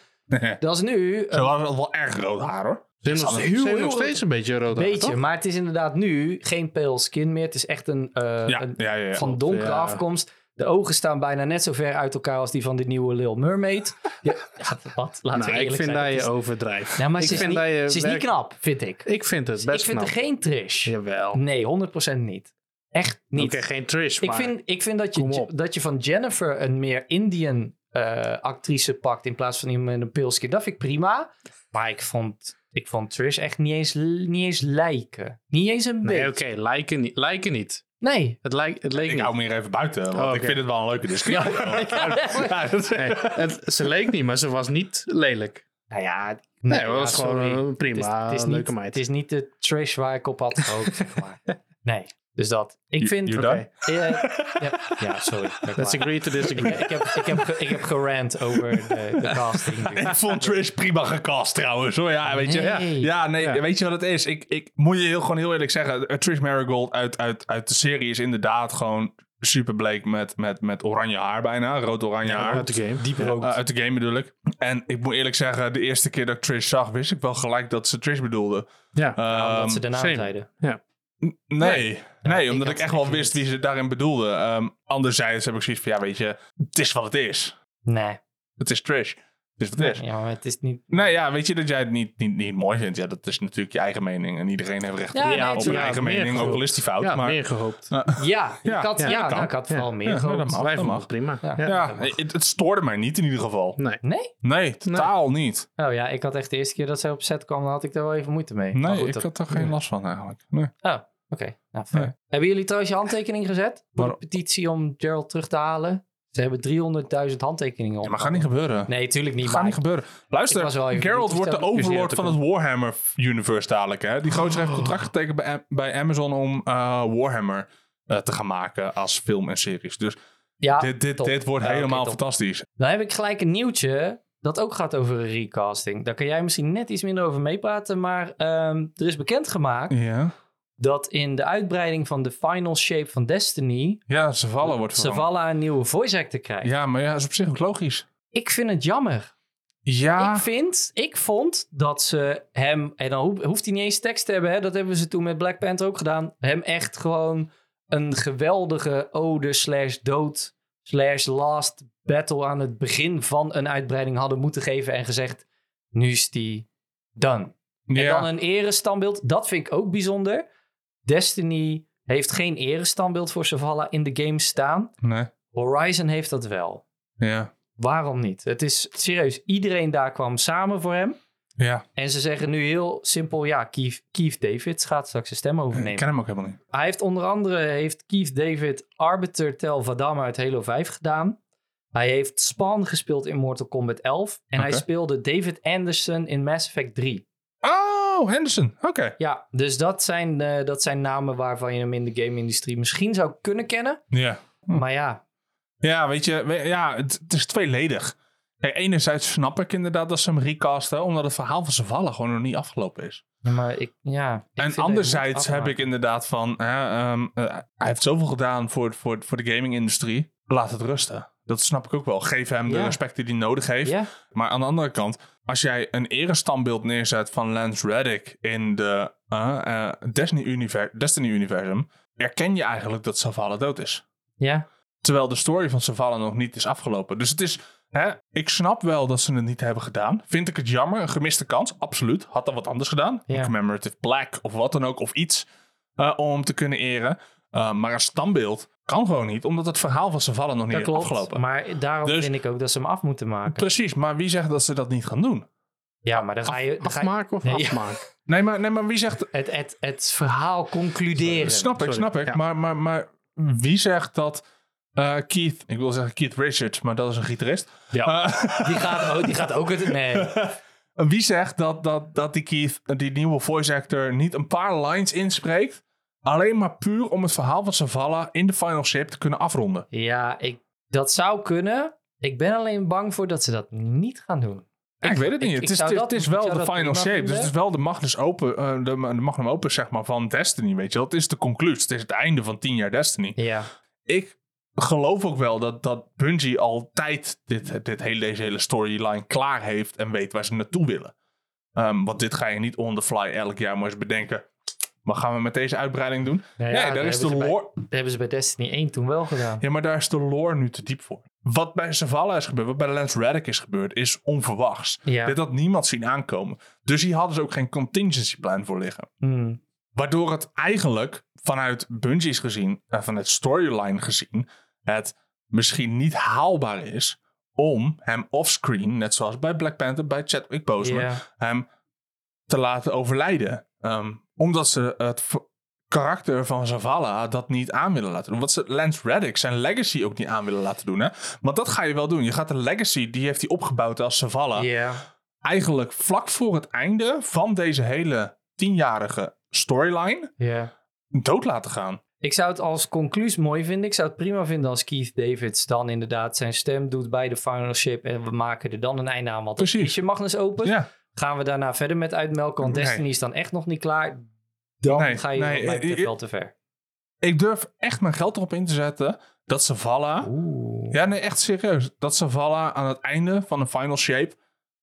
S2: Dat is nu
S4: Ze hadden wel erg rood haar hoor.
S3: Ze hebben
S2: Dat
S3: nog,
S2: is
S3: ze
S2: heel-
S3: hebben
S2: heel-
S3: nog steeds een beetje rood haar,
S2: Beetje,
S3: toch?
S2: maar het is inderdaad nu geen pale skin meer. Het is echt een, eh,
S4: Ja,
S2: een
S4: ja, ja. ja.
S2: van donkere
S3: ja.
S2: afkomst. De ogen staan bijna net zo ver uit elkaar als die van die nieuwe Lil Mermaid. Ja, ja, wat? Laten we
S3: Nou, ik
S2: eerlijk
S3: vind
S2: zijn.
S3: dat
S2: het
S3: je
S2: is-
S3: overdrijft.
S2: Nee, maar
S3: ik
S2: ze is,
S3: vind
S2: niet,
S3: dat je
S2: ze is
S3: werk-
S2: niet knap, vind ik.
S3: Ik vind het
S2: ik
S3: best
S2: vind
S3: knap.
S2: er geen trash.
S3: Jawel.
S2: Nee, 100% niet. Echt niet.
S3: Oké, geen Trish,
S2: ik,
S3: maar...
S2: vind, ik vind dat
S3: kom
S2: je,
S3: op.
S2: dat je van Jennifer een meer Indian eh, actrice pakt in plaats van iemand met een pale skin. Dat vind ik prima. Maar ik vond, ik vond Trish echt niet eens, niet eens lijken. Niet eens een beetje.
S3: Nee, oké, lijken, niet- lijken niet.
S2: Nee.
S3: Het, lijk, het leek
S4: Ik
S3: niet.
S4: hou me hier even buiten, want
S3: Oh,
S4: ik
S3: oké.
S4: vind het wel een leuke discussie.
S3: Nou
S4: Ja, dat-
S3: Nee, het, ze leek niet, maar ze was niet lelijk.
S2: Nou ja,
S3: Nee,
S2: ja,
S3: dat was gewoon
S2: sorry.
S3: eh,
S2: Het is,
S3: prima,
S2: het is
S3: leuke
S2: niet,
S3: meid.
S2: Het is niet de trash waar ik op had gehoopt, zeg maar. Nee, dus dat. Ik
S4: You-
S2: vind...
S4: you
S2: eh,
S4: done?
S2: ja, ja, sorry. dat
S3: Let's
S2: waar.
S3: agree to
S2: Ik,
S3: disagree.
S2: ik heb, ik, heb, ge- ik heb gerant over de, de casting.
S4: Ik vond Trish prima gecast trouwens hoor. Ja, weet je.
S2: Nee.
S4: Ja, ja, nee,
S3: Ja.
S4: weet je wat het is? Ik, ik moet je heel, gewoon heel eerlijk zeggen. eh, Trish Marigold uit, uit, uit de serie is inderdaad gewoon super bleek met, met, met oranje haar bijna. Rood-oranje haar.
S3: Uit de game. Diep
S4: Eh, uit de game bedoel ik. En ik moet eerlijk zeggen, de eerste keer dat ik Trish zag, wist ik wel gelijk dat ze Trish bedoelde.
S3: Ja.
S4: Ehm,
S2: omdat ze daarna
S3: same.
S2: zeiden.
S4: Nee,
S2: Ja,
S4: nee
S2: ik
S4: omdat
S2: had
S4: ik echt wel
S2: echt
S4: wist
S2: niet.
S4: wie ze daarin bedoelde. Ehm, anderzijds heb ik zoiets van, ja weet je, het is wat het is.
S2: Nee.
S4: Het is Trish. Het is wat het is.
S2: Ja, maar het is niet...
S4: Nee, ja, weet je dat jij het niet, niet, niet mooi vindt? Ja, dat is natuurlijk je eigen mening. En iedereen heeft recht
S2: Ja,
S4: op,
S2: nee,
S4: op
S2: tuurlijk.
S4: zijn
S3: Ja,
S4: eigen
S3: meer
S4: mening, ook
S3: geloof.
S4: al is die fout.
S3: ja,
S4: maar,
S3: meer gehoopt.
S2: Ja,
S4: Ja,
S2: ik had,
S4: ja,
S2: ja,
S4: dat
S2: nou,
S4: kan.
S2: ik had
S3: Ja.
S2: vooral meer
S4: Ja,
S2: gehoopt.
S4: dat mag.
S3: Wij vonden
S4: mag.
S3: het prima.
S2: Ja.
S3: Ja.
S4: ja, het, het stoorde mij niet in ieder geval.
S3: Nee.
S2: Nee?
S4: Nee, totaal niet.
S2: Oh ja, ik had echt de eerste keer dat zij op set kwam, dan had ik daar wel even moeite mee. Maar
S4: Nee,
S2: goed,
S4: ik
S2: dat-
S4: had er geen last van eigenlijk. Nee.
S2: Oh, oké. Nou, fair.
S4: Nee.
S2: Hebben jullie trouwens je handtekening gezet? Voor de
S4: Waarom?
S2: petitie om Gerald terug te halen? Ze hebben 300.000 handtekeningen op.
S4: Ja, maar gaat niet gebeuren.
S2: Nee, tuurlijk niet.
S4: Gaat
S2: maar
S4: niet gebeuren.
S2: Ik
S4: Luister,
S2: was wel even
S4: Geralt
S2: benieuwd
S4: wordt
S2: of
S4: de
S2: dat discussie
S4: overlord
S2: uit
S4: van
S2: te
S4: het Warhammer-universe dadelijk. Hè? Die gozer
S2: Oh.
S4: heeft contract getekend bij, Am- bij Amazon om eh, Warhammer eh, te gaan maken als film en series. Dus
S2: ja,
S4: dit, dit,
S2: Ah, top.
S4: dit wordt
S2: Ja, oké,
S4: helemaal
S2: top.
S4: fantastisch.
S2: Dan heb ik gelijk een nieuwtje dat ook gaat over een recasting. Daar kan jij misschien net iets minder over meepraten, maar ehm, er is bekendgemaakt
S4: Ja,
S2: dat in de uitbreiding van de final shape van Destiny,
S4: ja Zavala wordt veranderd.
S2: Zavala een nieuwe voice actor krijgt.
S4: Ja, maar ja, is op zich ook logisch.
S2: Ik vind het jammer.
S4: Ja,
S2: Ik vind, ik vond dat ze hem, en dan hoef- hoeft hij niet eens tekst te hebben, hè, dat hebben ze toen met Black Panther ook gedaan, hem echt gewoon een geweldige ode slash dood slash last battle aan het begin van een uitbreiding hadden moeten geven en gezegd, nu is die done. En dan
S4: ja.
S2: een erestandbeeld, dat vind ik ook bijzonder. Destiny heeft geen erestandbeeld voor Zavala in de game staan.
S4: Nee.
S2: Horizon heeft dat wel.
S4: Ja.
S2: Waarom niet? Het is serieus, iedereen daar kwam samen voor hem.
S4: Ja,
S2: En ze zeggen nu heel simpel, ja, Keith, Keith David gaat straks zijn stem
S4: ik
S2: overnemen.
S4: ken hem ook helemaal niet.
S2: Hij heeft onder andere, heeft Keith David Arbiter Tel Vadam uit Halo 5 gedaan. Hij heeft Spawn gespeeld in Mortal Kombat 11. En hij
S4: Oké.
S2: speelde David Anderson in Mass Effect 3.
S4: Oh, Henderson. Oké.
S2: Ja, dus dat zijn, eh, dat zijn namen waarvan je hem in de game-industrie misschien zou kunnen kennen.
S4: Ja.
S2: Maar ja,
S4: Ja, weet je, we- ja, het, het is tweeledig. Kijk, enerzijds snap ik inderdaad dat ze hem recasten, omdat het verhaal van Zavala gewoon nog niet afgelopen is.
S2: maar ik, ja. ik vind dat
S4: En
S2: je moet
S4: anderzijds heb
S2: afmaken.
S4: ik inderdaad van, hè, ehm, eh, hij heeft zoveel gedaan voor, voor, voor de gaming-industrie. Laat het rusten. Dat snap ik ook wel. Geef hem de
S2: Ja.
S4: respect die hij nodig heeft.
S2: Ja,
S4: Maar aan de andere kant, als jij een erestandbeeld neerzet van Lance Reddick in de eh, eh, Destiny-univer- Destiny-universum, erken je eigenlijk dat Zavala dood is.
S2: ja.
S4: Terwijl de story van Zavala nog niet is afgelopen. Dus het is. Hè, ik snap wel dat ze het niet hebben gedaan. Vind ik het jammer. Een gemiste kans. Absoluut. Had dan wat anders gedaan.
S2: Ja.
S4: Een commemorative plaque of wat dan ook. Of iets. eh, om hem te kunnen eren. Eh, maar een standbeeld kan gewoon niet. Omdat het verhaal van Zavala nog niet
S2: Dat
S4: is
S2: klopt,
S4: afgelopen.
S2: maar daarom
S4: Dus-
S2: vind ik ook dat ze hem af moeten maken.
S4: Precies. Maar wie zegt dat ze dat niet gaan doen?
S2: Ja, maar dan ga je... Dan ga je
S3: Afmaken of
S2: Nee, ja.
S3: afmaken?
S4: Nee, maar, nee, maar wie zegt.
S2: het, het, het verhaal concluderen.
S4: Snap ik,
S3: Sorry.
S4: snap ik.
S3: Ja.
S4: Maar, maar, maar wie zegt dat. eh, Keith, ik wil zeggen Keith Richards, maar dat is een gitarist.
S3: Ja.
S4: Eh,
S2: Die gaat, ook- die gaat ook het... Nee.
S4: Wie zegt dat, dat, dat die Keith, die nieuwe voice actor, niet een paar lines inspreekt? Alleen maar puur om het verhaal van Zavala in de final shape te kunnen afronden.
S2: Ja, ik, dat zou kunnen. Ik ben alleen bang voor dat ze dat niet gaan doen.
S4: ik weet het niet.
S2: ik-
S4: het
S2: ik
S4: is,
S2: zou
S4: het,
S2: dat-
S4: is
S2: ik
S4: wel
S2: zou
S4: de
S2: dat
S4: final
S2: prima
S4: shape. Dus
S2: vinden.
S4: het is wel de magnus open, eh, de, de magnum open zeg maar, van Destiny. Weet je, dat is de conclusie. Het is het einde van 10 jaar Destiny.
S2: Ja. Nou
S4: Ik geloof ook wel dat, dat Bungie altijd dit, dit hele, deze hele storyline klaar heeft en weet waar ze naartoe willen. Ehm, want dit ga je niet on the fly elk jaar maar eens bedenken. Wat gaan we met deze uitbreiding doen?
S2: Nou ja,
S4: nee, daar
S2: daar
S4: is de
S2: hebben ze
S4: lore.
S2: Dat hebben ze bij Destiny 1 toen wel gedaan.
S4: Ja, maar daar is de lore nu te diep voor. Wat bij Zavala is gebeurd, wat bij Lance Reddick is gebeurd, is onverwachts.
S2: Ja.
S4: Dit had niemand zien aankomen. Dus hier hadden ze ook geen contingency plan voor liggen.
S2: Hmm.
S4: Waardoor het eigenlijk vanuit Bungie's gezien, en vanuit storyline gezien, het misschien niet haalbaar is om hem offscreen, net zoals bij Black Panther, bij Chadwick Boseman,
S2: Ja.
S4: hem te laten overlijden. Ehm, omdat ze het v- karakter van Zavala dat niet aan willen laten doen. Wat ze Lance Reddick zijn legacy ook niet aan willen laten doen. Hè? Want dat ga je wel doen. Je gaat de legacy, die heeft hij opgebouwd als Zavala
S2: Ja.
S4: eigenlijk vlak voor het einde van deze hele tienjarige storyline
S2: Ja.
S4: dood laten gaan.
S2: Ik zou het als conclusie mooi vinden. Ik zou het prima vinden als Keith Davids dan inderdaad zijn stem doet bij de final ship. En we maken er dan een einde aan. Want
S4: Precies.
S2: is je Magnus open.
S4: Ja,
S2: Gaan we daarna verder met uitmelken. Want
S4: Nee.
S2: Destiny is dan echt nog niet klaar. Dan
S4: Nee,
S2: ga je
S4: nee,
S2: wat mij betreft
S4: eh,
S2: wel te ver.
S4: ik durf echt mijn geld erop in te zetten dat Zavala...
S2: Oeh.
S4: Ja, nee, echt serieus. Dat Zavala aan het einde van de Final Shape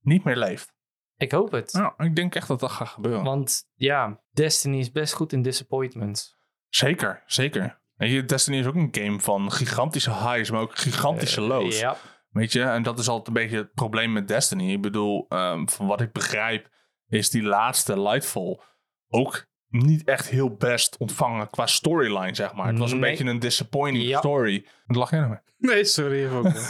S4: niet meer leeft.
S2: Ik hoop het.
S4: Nou, ik denk echt dat dat gaat gebeuren.
S2: Want ja, Destiny is best goed in disappointment.
S4: Zeker, zeker. Weet je, Destiny is ook een game van gigantische highs, maar ook
S2: Eh,
S4: gigantische lows.
S2: Ja.
S4: Weet je, en dat is altijd een beetje het probleem met Destiny. Ik bedoel, ehm, van wat ik begrijp, is die laatste Lightfall ook niet echt heel best ontvangen qua storyline, zeg maar. Het was een
S2: Nee.
S4: beetje een disappointing
S2: Ja.
S4: story. Dat lag jij nou mee.
S3: Nee, sorry. even ook wel.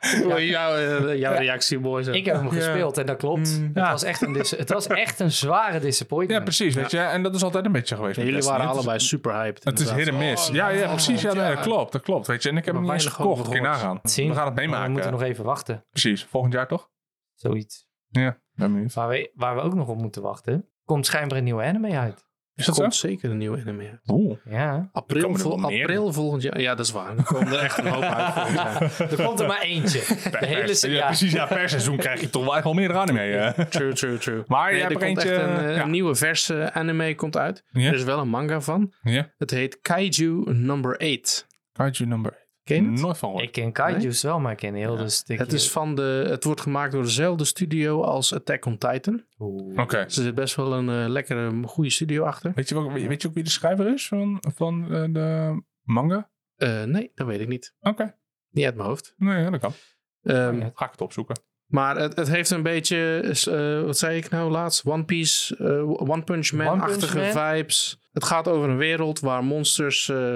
S3: Voor jouw, eh, jouw reactie mooi zo.
S2: Ik heb hem gespeeld en dat klopt.
S3: Mm.
S2: het,
S4: Ja.
S2: was echt een dis- het was echt een zware
S4: Ja,
S2: disappointment.
S4: precies, weet je. En dat is altijd een beetje geweest
S3: Ja,
S4: met
S3: jullie
S4: Destiny.
S3: waren
S4: Het is-
S3: allebei super hyped.
S4: Het is hit en miss. ja, ja, precies. Ja, nee, dat klopt, dat klopt, weet je. En ik heb hem niet
S3: weinig
S4: eens gekocht,
S3: over
S4: kun je
S3: gehoord.
S4: nagaan.
S2: Zien.
S4: We gaan het
S2: Maar
S4: meemaken.
S2: Oh, We moeten nog even wachten.
S4: Precies, volgend jaar toch?
S2: Zoiets.
S4: Ja, ben benieuwd.
S2: Waar we, waar we ook nog op moeten wachten. Komt schijnbaar een nieuwe anime uit.
S4: Is
S3: Er
S4: dat zo?
S3: komt zeker een nieuwe anime uit.
S4: Oeh.
S2: Ja.
S3: April,
S4: Komen er
S3: vol-
S4: wel meer?
S3: april volgend jaar. Ja, dat is waar. Er komen er echt een hoop uit volgend jaar.
S2: Er komt er maar eentje. De hele se-
S4: ja,
S2: ja.
S4: precies. Ja, per seizoen krijg je toch wel echt wel meer anime. hè?
S3: True, true, true.
S4: Maar
S3: Nee,
S4: jij
S3: er
S4: hebt
S3: komt
S4: er
S3: echt
S4: eentje...
S3: een, eh,
S4: ja.
S3: een nieuwe verse anime komt uit.
S4: Ja.
S3: Er is wel een manga van.
S4: Ja.
S3: Het heet Kaiju Number 8.
S4: Kaiju number.
S3: Ken je het?
S4: Nooit van gehoord.
S2: Ik ken kaiju's wel, maar ik ken heel de stukje.
S3: Het, is van de, het wordt gemaakt door dezelfde studio als Attack on Titan.
S2: Oeh.
S4: Oké.
S3: Dus er zit best wel een eh, lekkere, goede studio achter.
S4: Weet, je wel- weet je ook wie de schrijver is van, van eh, de manga?
S3: Eh, nee, dat weet ik niet.
S4: Oké.
S3: Niet uit mijn hoofd.
S4: Nee, ja, dat kan.
S3: Ehm,
S2: Ja.
S4: Ga ik het opzoeken.
S3: Maar het, het heeft een beetje, is, eh, wat zei ik nou laatst? One Piece, eh, One Punch Man-achtige
S2: One Punch
S3: vibes. Het gaat over een wereld waar monsters, eh,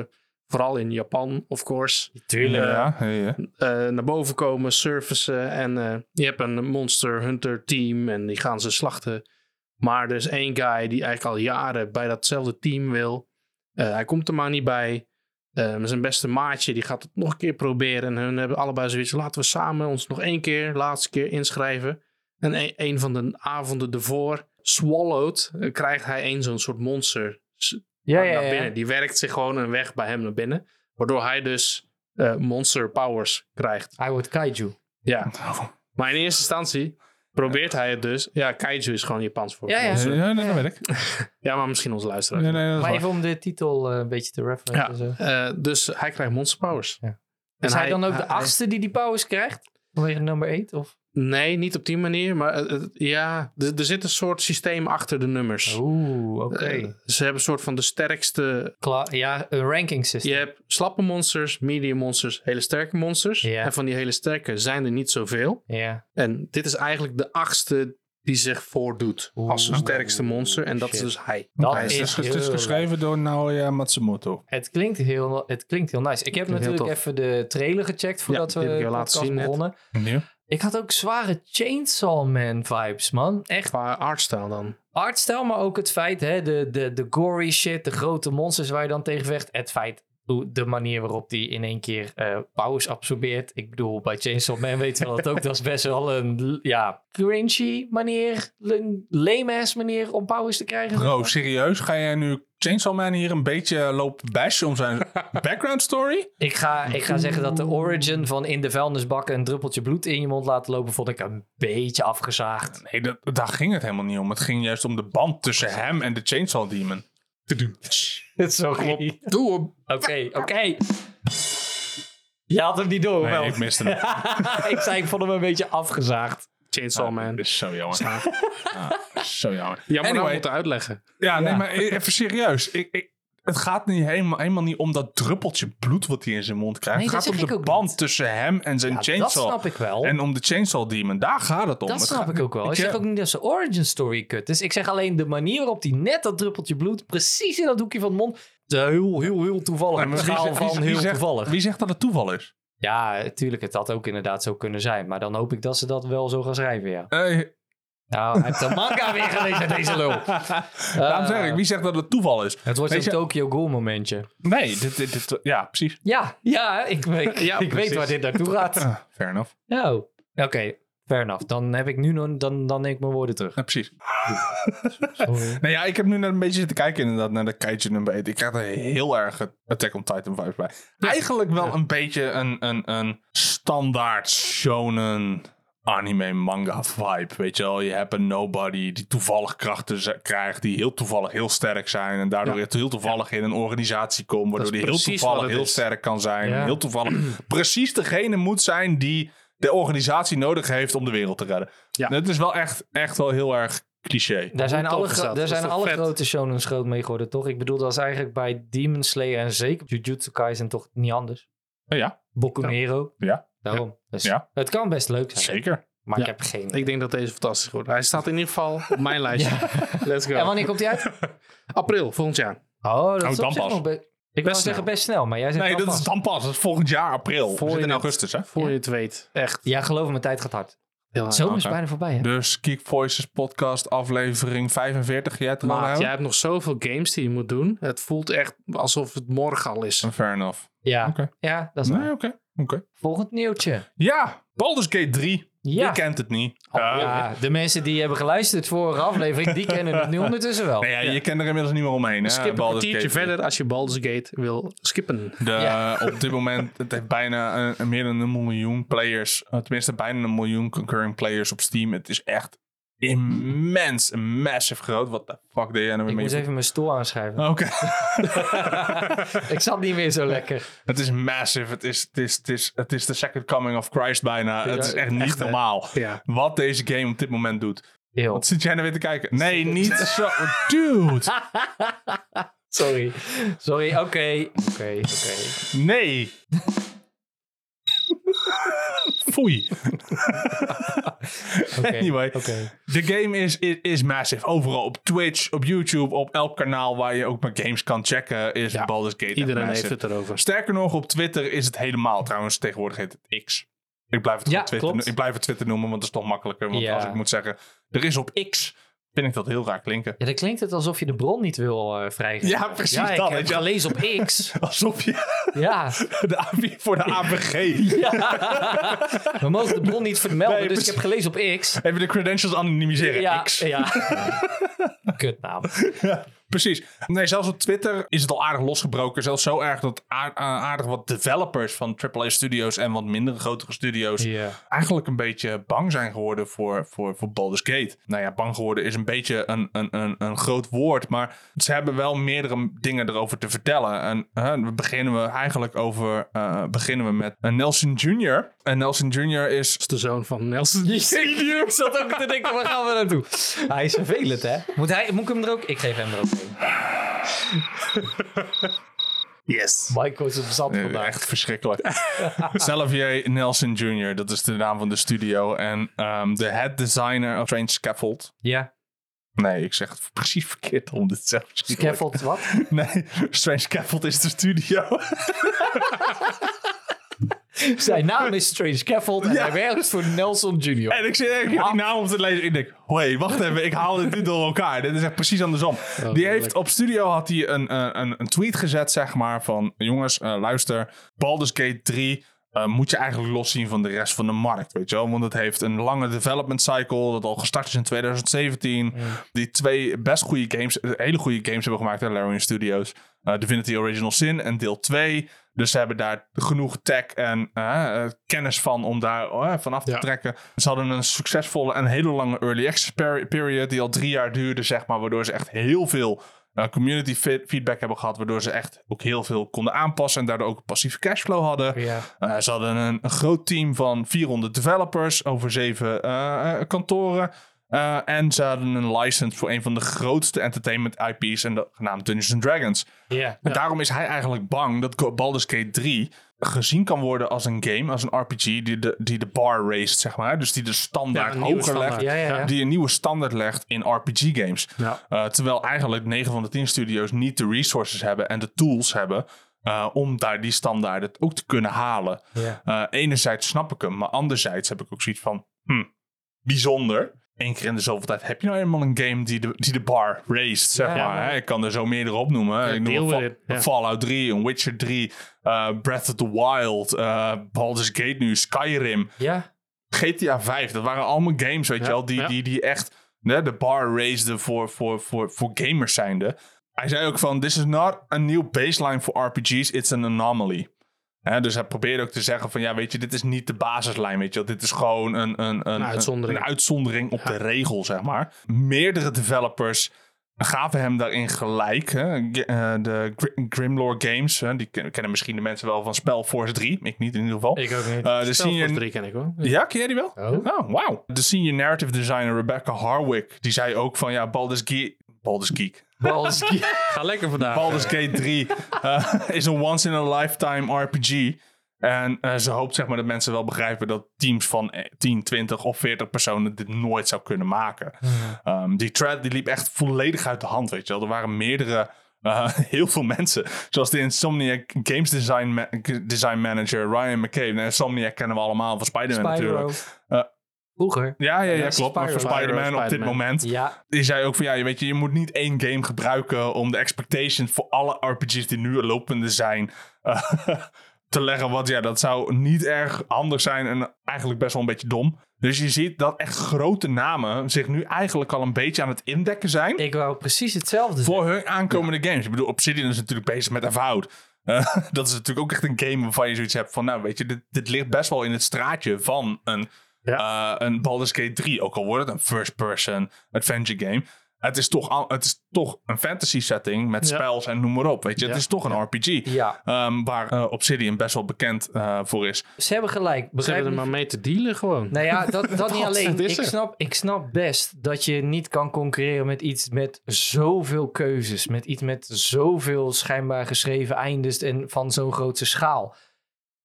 S3: vooral in Japan, of course,
S2: Tuurlijk.
S4: Ja, ja, ja.
S3: eh, naar boven komen, surfacen. En eh, je hebt een monster hunter team en die gaan ze slachten. Maar er is één guy die eigenlijk al jaren bij datzelfde team wil. Eh, hij komt er maar niet bij. Eh, zijn beste maatje die gaat het nog een keer proberen. En hun hebben allebei zoiets. Laten we samen ons nog één keer, laatste keer inschrijven. En e- een van de avonden ervoor, swallowed, eh, krijgt hij een zo'n soort monster
S2: Ja, ja,
S3: naar binnen.
S2: ja.
S3: Die werkt zich gewoon een weg bij hem naar binnen. Waardoor hij dus eh, monster powers krijgt.
S2: Hij wordt kaiju.
S3: Ja. Maar in eerste instantie probeert hij het dus. Ja, kaiju is gewoon Japans voor.
S2: Ja, ja.
S3: monster.
S4: Ja, nee, dat weet ik.
S3: ja maar misschien onze luisteraar.
S4: Nee, nee, dat is
S2: Maar
S4: waar.
S2: even om de titel eh, een beetje te
S3: Ja,
S2: refereren. Ja.
S3: eh, dus hij krijgt monster powers.
S2: Ja.
S3: En
S2: Is Dus hij, dan ook de
S3: hij-
S2: achtste die die powers krijgt? Vanwege nummer 8? Of?
S3: Nee, niet op die manier. Maar het- het- ja, er, er zit een soort systeem achter de nummers.
S2: Oeh, Oh, oké.
S3: Eh, ze hebben een soort van de sterkste
S2: Kla- ja, een ranking system.
S3: Je hebt slappe monsters, medium monsters, hele sterke monsters.
S2: Ja.
S3: En van die hele sterke zijn er niet zoveel.
S2: Ja.
S3: En dit is eigenlijk de achtste die zich voordoet als de
S2: Oeh.
S3: sterkste monster. En dat
S2: Shit.
S3: is dus hij.
S2: Dat
S3: hij
S4: Het
S2: is-
S4: is, het is
S2: heel
S4: geschreven door Naoya Matsumoto.
S2: Het klinkt heel, het klinkt heel nice. Ik heb
S3: Klinkt heel
S2: natuurlijk
S3: tof.
S2: even de trailer gecheckt voordat
S3: die
S2: we
S3: heb
S2: de
S3: ik jou
S2: podcast
S3: laten zien net.
S2: begonnen.
S4: Nieuw.
S2: Ik had ook zware Chainsaw Man vibes, man. Echt
S3: qua artstyle dan.
S2: artstijl, maar ook het feit, hè, de, de, de gory shit, de grote monsters waar je dan tegen vecht. Het feit, hoe- de manier waarop die in één keer eh, powers absorbeert. Ik bedoel, bij Chainsaw Man weten we dat ook. Dat is best wel een ja, cringy manier, een lame-ass manier om powers te krijgen.
S4: Bro, serieus? Ga jij nu Chainsaw Man hier een beetje lopen bashen om zijn background story?
S2: Ik ga, ik ga zeggen dat de origin van in de vuilnisbak een druppeltje bloed in je mond laten lopen, vond ik een beetje afgezaagd.
S4: Nee, dat, daar ging het helemaal niet om. Het ging juist om de band tussen hem en de Chainsaw Demon.
S2: Zo klopt.
S3: Doe hem.
S2: Oké, oké. Je had hem niet door,
S4: Nee,
S2: wel?
S4: ik miste hem.
S2: ik zei, ik vond hem een beetje afgezaagd.
S3: Chainsaw Man.
S4: Dat is zo jammer. Ah, zo jammer.
S3: Jammer dat we
S4: dus- Anyway.
S3: moeten uitleggen.
S4: Ja, nee,
S2: Ja.
S4: maar e- even serieus. Ik, ik, het gaat niet helemaal, helemaal niet om dat druppeltje bloed wat hij in zijn mond krijgt.
S2: Nee,
S4: het
S2: dat
S4: gaat
S2: zeg
S4: om
S2: ik
S4: de
S2: ook
S4: band tussen hem en zijn
S2: Ja, dat
S4: chainsaw.
S2: snap ik wel.
S4: En om de chainsaw demon. Daar gaat het om.
S2: dat
S4: Het
S2: snap
S4: gaat-
S2: ik ook wel. Ik zeg
S4: ja.
S2: ook niet dat zijn origin story kut is. Ik zeg alleen de manier waarop hij net dat druppeltje bloed precies in dat hoekje van de mond... Het is Heel, heel, heel toevallig.
S4: Maar
S2: Een
S4: wie
S2: schaal
S4: zegt- wie-
S2: van
S4: wie
S2: heel
S4: zegt-
S2: toevallig.
S4: Wie zegt dat het toeval is?
S2: Ja, tuurlijk, het had ook inderdaad zo kunnen zijn. Maar dan hoop ik dat ze dat wel zo gaan schrijven, ja.
S4: Eh,
S2: Nou, hij heeft de manga weer gelezen, deze lul. Eh,
S4: daarom zeg ik, wie zegt dat het toeval is?
S2: Het wordt
S4: Weet
S2: een
S4: je-
S2: Tokyo Ghoul momentje.
S4: Nee, dit, dit, dit- ja, precies.
S2: Ja, ja, ik, ik,
S3: Ja,
S2: ik weet
S3: precies.
S2: waar dit naartoe gaat.
S4: Ah, fair enough.
S2: Nou, oké. Fair enough. Dan heb ik nu nog, dan, dan neem ik mijn woorden terug.
S4: Ja, precies. Nou ja, ik heb nu net een beetje zitten kijken inderdaad naar de kaiju nummer 1. Ik krijg er heel erg het Attack on Titan vibes bij. Eigenlijk wel een beetje een, een, een standaard shonen anime manga vibe. Weet je wel, je hebt een nobody die toevallig krachten ze- krijgt, die heel toevallig heel sterk zijn en daardoor heel toevallig in een organisatie komen, waardoor die heel
S3: precies wat
S4: toevallig
S3: het
S4: heel
S3: is.
S4: sterk kan zijn.
S2: Ja.
S4: Heel toevallig precies degene moet zijn die de organisatie nodig heeft om de wereld te redden.
S3: Ja.
S4: Het is wel echt, echt wel heel erg cliché.
S2: Daar zijn
S3: Hoe tof
S2: alle,
S3: is
S2: gro-
S3: dat?
S2: daar
S3: Dat is
S2: zijn
S3: toch
S2: alle
S3: vet?
S2: grote shonens groot mee geworden, toch? Ik bedoel, dat is eigenlijk bij Demon Slayer en zeker Jujutsu Kaisen toch niet anders.
S4: Nou ja.
S2: Boku no Hero.
S4: Ja.
S2: Daarom. Dus
S4: Ja.
S2: Het kan best leuk zijn,
S4: Zeker.
S2: maar ik
S3: Ja.
S2: heb geen...
S3: Ik denk dat deze fantastisch wordt. Hij staat in ieder geval op mijn lijstje. Let's go.
S2: En wanneer komt die uit?
S3: April, volgend jaar.
S2: Oh, dat is
S4: dan
S2: op zich
S4: pas.
S2: nog be- Ik wil
S3: snel.
S2: zeggen best snel, maar jij zegt
S4: Nee,
S2: dan
S4: dat
S2: pas.
S4: is dan pas. Dat is volgend jaar april.
S3: Voor
S4: Voor
S3: je
S4: in
S3: het-
S4: augustus, hè?
S3: Voor je het weet. Echt.
S2: Ja, geloof me, tijd gaat hard.
S3: Heel hard.
S2: Zomer is
S4: Ah, oké.
S2: bijna voorbij, hè?
S4: Dus Geek Voices podcast aflevering 45. Jij het er al
S3: Maat,
S4: aan
S3: jij
S4: houden?
S3: hebt nog zoveel games die je moet doen. Het voelt echt alsof het morgen al is.
S4: Oh, Fair enough.
S2: Ja,
S4: Oké.
S2: ja dat is
S4: Nee,
S2: waar.
S4: oké. oké.
S2: Volgend nieuwtje.
S4: Ja, Baldur's Gate 3.
S2: Ja. Oh,
S4: Je kent het niet. Eh,
S2: ja, de mensen die hebben geluisterd voor een aflevering, die kennen het nu ondertussen wel.
S4: nee, ja, je kent er inmiddels niet meer omheen. Hè?
S3: Skip een
S4: Baldur's
S3: kwartiertje
S4: Gate
S3: verder als je Baldur's Gate wil skippen.
S4: De, eh,
S2: Ja.
S4: Op dit moment, het heeft bijna een- een, meer dan een miljoen players. eh, Tenminste, bijna een miljoen concurrent players op Steam. Het is echt immens, massive groot. Wat de fuck deed jij nou weer
S2: Ik
S4: mee? Ah,
S2: moest even mijn stoel aanschuiven.
S4: Oké.
S2: Ik zat niet meer zo lekker.
S4: Het is massive. Het is, het is, het is, het is de second coming of Christ bijna.
S2: Ja,
S4: het is echt niet
S3: echt, hè?
S4: normaal.
S3: Ja.
S4: Wat deze game op dit moment doet.
S2: Heel.
S4: Wat zit jij nou weer te kijken? Nee, niet zo. Dude.
S2: Sorry. Sorry, oké. Oké, oké.
S4: Nee. Foei.
S2: Oké,
S4: Anyway.
S2: oké.
S4: De game is, is, is massive. Overal op Twitch, op YouTube, op elk kanaal waar je ook maar games kan checken, is
S3: Ja,
S4: Baldur's Gate echt
S3: Iedereen
S4: massive.
S3: heeft het erover.
S4: Sterker nog, op Twitter is het helemaal. Trouwens, tegenwoordig heet het X. Ik blijf het,
S2: Ja,
S4: gewoon Twitter,
S2: klopt.
S4: ik blijf het Twitter noemen, want dat is toch makkelijker. Want
S2: Ja.
S4: als ik moet zeggen, er is op X, vind ik dat heel raar klinken.
S2: Ja, dan klinkt het alsof je de bron niet wil eh vrijgeven.
S4: Ja, precies
S2: Ja, ik
S4: dat,
S2: heb
S4: weet je.
S2: gelezen op X.
S4: Alsof je
S2: Ja.
S4: de AV voor de ABG.
S2: We mogen de bron niet vermelden,
S4: Nee,
S2: dus ik
S4: precies.
S2: heb gelezen op X.
S4: Even de credentials anonimiseren.
S2: Ja,
S4: X.
S2: ja. Kutnaam.
S4: Precies. Nee, zelfs op Twitter is het al aardig losgebroken. Zelfs zo erg dat aar- aardig wat developers van AAA studios en wat mindere grotere studios
S2: Ja.
S4: eigenlijk een beetje bang zijn geworden voor, voor, voor Baldur's Gate. Nou ja, bang geworden is een beetje een, een, een, een groot woord, maar ze hebben wel meerdere dingen erover te vertellen. En hè, we beginnen we eigenlijk over, eh, beginnen we met een Nelson Jr. En Nelson Jr. is
S3: De zoon van Nelson.
S2: Ik zat ook te denken, waar gaan we naartoe? Hij is vervelend, hè? Moet, hij, moet ik hem er ook... Ik geef hem er ook een.
S3: Yes.
S2: Michael is op zand
S4: Nee,
S2: vandaag.
S4: Echt verschrikkelijk. Xavier Nelson Jr., dat is de naam van de studio. En ehm, de head designer of Strange Scaffold.
S2: Ja.
S4: Nee, ik zeg het precies verkeerd om dit zelf te zeggen.
S2: Scaffold wat?
S4: Nee, Strange Scaffold is de studio.
S2: Zijn naam is Strange Scaffold en hij werkt voor Nelson Jr.
S4: En ik zit echt die naam op te lezen. Ik denk, hoi, wacht even, ik haal dit niet door elkaar. Dit is echt precies andersom. die heeft op studio had hij een, eh, een, een tweet gezet, zeg maar, van jongens, eh, luister, Baldur's Gate 3 eh, moet je eigenlijk loszien van de rest van de markt, weet je wel? Want het heeft een lange development cycle, dat al gestart is in 2017. Die twee best goede games, eh, hele goede games hebben gemaakt, hè, Larian Studios. Eh, Divinity Original Sin en deel 2. Dus ze hebben daar genoeg tech en eh, eh, kennis van om daar eh, vanaf te
S3: Ja.
S4: trekken. Ze hadden een succesvolle en hele lange early access per- period die al drie jaar duurde, zeg maar. Waardoor ze echt heel veel eh, community fe- feedback hebben gehad, waardoor ze echt ook heel veel konden aanpassen en daardoor ook een passieve cashflow hadden.
S2: Ja.
S4: Eh, ze hadden een, een groot team van 400 developers over zeven eh, eh, kantoren. Eh, en ze hadden een license voor een van de grootste entertainment IP's, en dat, genaamd Dungeons and Dragons.
S2: Ja.
S4: En daarom is hij eigenlijk bang dat Go- Baldur's Gate 3 gezien kan worden als een game, als een RPG die de, die de bar raised, zeg maar. Dus die de standaard
S3: Ja, een nieuwe
S4: hoger
S3: standaard.
S4: legt.
S2: Ja, ja, ja.
S4: Die een nieuwe standaard legt in RPG-games.
S3: Ja.
S4: Eh, terwijl eigenlijk 9 van de 10 studio's niet de resources hebben en de tools hebben. eh, om daar die standaarden ook te kunnen halen.
S2: Ja.
S4: Eh, enerzijds snap ik hem, maar anderzijds heb ik ook zoiets van. Hm, bijzonder. Eén keer in de zoveel tijd heb je nou eenmaal een game die de, die de bar raised, zeg
S2: Ja,
S4: maar.
S2: ja.
S4: hè. Ik kan er zo meerdere opnoemen. ik noem
S3: deal
S4: een Fa-
S3: with it,
S4: een
S3: ja.
S4: Fallout 3, een Witcher 3, eh, Breath of the Wild, eh Baldur's Gate nu, Skyrim,
S2: Ja.
S4: GTA 5. Dat waren allemaal games, weet
S3: Ja,
S4: je wel, die,
S3: ja.
S4: die, die echt né, de bar raiseden voor, voor, voor, voor gamers zijnde. Hij zei ook van, this is not a new baseline for RPG's, it's an anomaly. Hè, dus hij probeerde ook te zeggen van, ja, weet je, dit is niet de basislijn, weet je wel. Dit is gewoon een, een, een, een
S3: uitzondering.
S4: een uitzondering op de regel, zeg maar. Meerdere developers gaven hem daarin gelijk. Hè. G- eh, de Gr- Grimlore Games, hè, die ken- kennen misschien de mensen wel van Spellforce 3. Ik niet in ieder geval.
S2: Ik ook niet.
S4: Eh, de
S3: Stel
S4: senior,
S3: voor drie ken ik wel.
S4: ja, ken jij die wel?
S2: Oh.
S4: wauw. De senior narrative designer Rebecca Harwick, die zei ook van ja, Baldur's Gate... Baldur's Geek.
S3: Baldur's Gate. Ga lekker vandaag.
S4: Baldur's Gate 3 eh, is een once-in-a-lifetime RPG. En eh, ze hoopt zeg maar dat mensen wel begrijpen dat teams van eh, 10, 20 of 40 personen dit nooit zou kunnen maken. Ehm, die thread die liep echt volledig uit de hand, weet je wel. Er waren meerdere, eh, heel veel mensen. Zoals de Insomniac Games Design, ma- design Manager Ryan McCabe. Nou, Insomniac kennen we allemaal van Spider-Man natuurlijk. Eh,
S2: Vroeger.
S4: Ja, ja, ja,
S2: Ja,
S4: klopt. Maar voor
S2: Spyro,
S4: Spider-Man
S3: Spyro,
S4: op dit
S3: Spider-Man.
S4: moment.
S2: Ja.
S4: Die zei ook van ja, je weet je, je moet niet één game gebruiken om de expectations voor alle RPG's die nu lopende zijn eh, te leggen. Want ja, dat zou niet erg handig zijn en eigenlijk best wel een beetje dom. Dus je ziet dat echt grote namen zich nu eigenlijk al een beetje aan het indekken zijn
S2: Ik wou precies hetzelfde zeggen.
S4: voor hun aankomende games. Ik bedoel, Obsidian is natuurlijk bezig met Avowed. Eh, dat is natuurlijk ook echt een game waarvan je zoiets hebt van, nou weet je, dit, dit ligt best wel in het straatje van een, eh, een Baldur's Gate 3. Ook al wordt het een first-person adventure game. Het is, toch, al- het is toch een fantasy setting met
S3: Ja.
S4: spels en noem maar op. Weet je, het
S3: Ja.
S4: is toch een RPG.
S2: Ja.
S4: Ehm, waar eh, Obsidian best wel bekend eh, voor is.
S2: Ze hebben gelijk.
S3: Ze
S2: Begrijp
S3: hebben er
S2: me
S3: maar mee te dealen gewoon.
S2: Nou ja, dat, dat, niet alleen.
S3: dat is
S2: Ik
S3: er.
S2: snap, ik snap best dat je niet kan concurreren met iets met zoveel keuzes. Met iets met zoveel schijnbaar geschreven eindes en van zo'n grote schaal.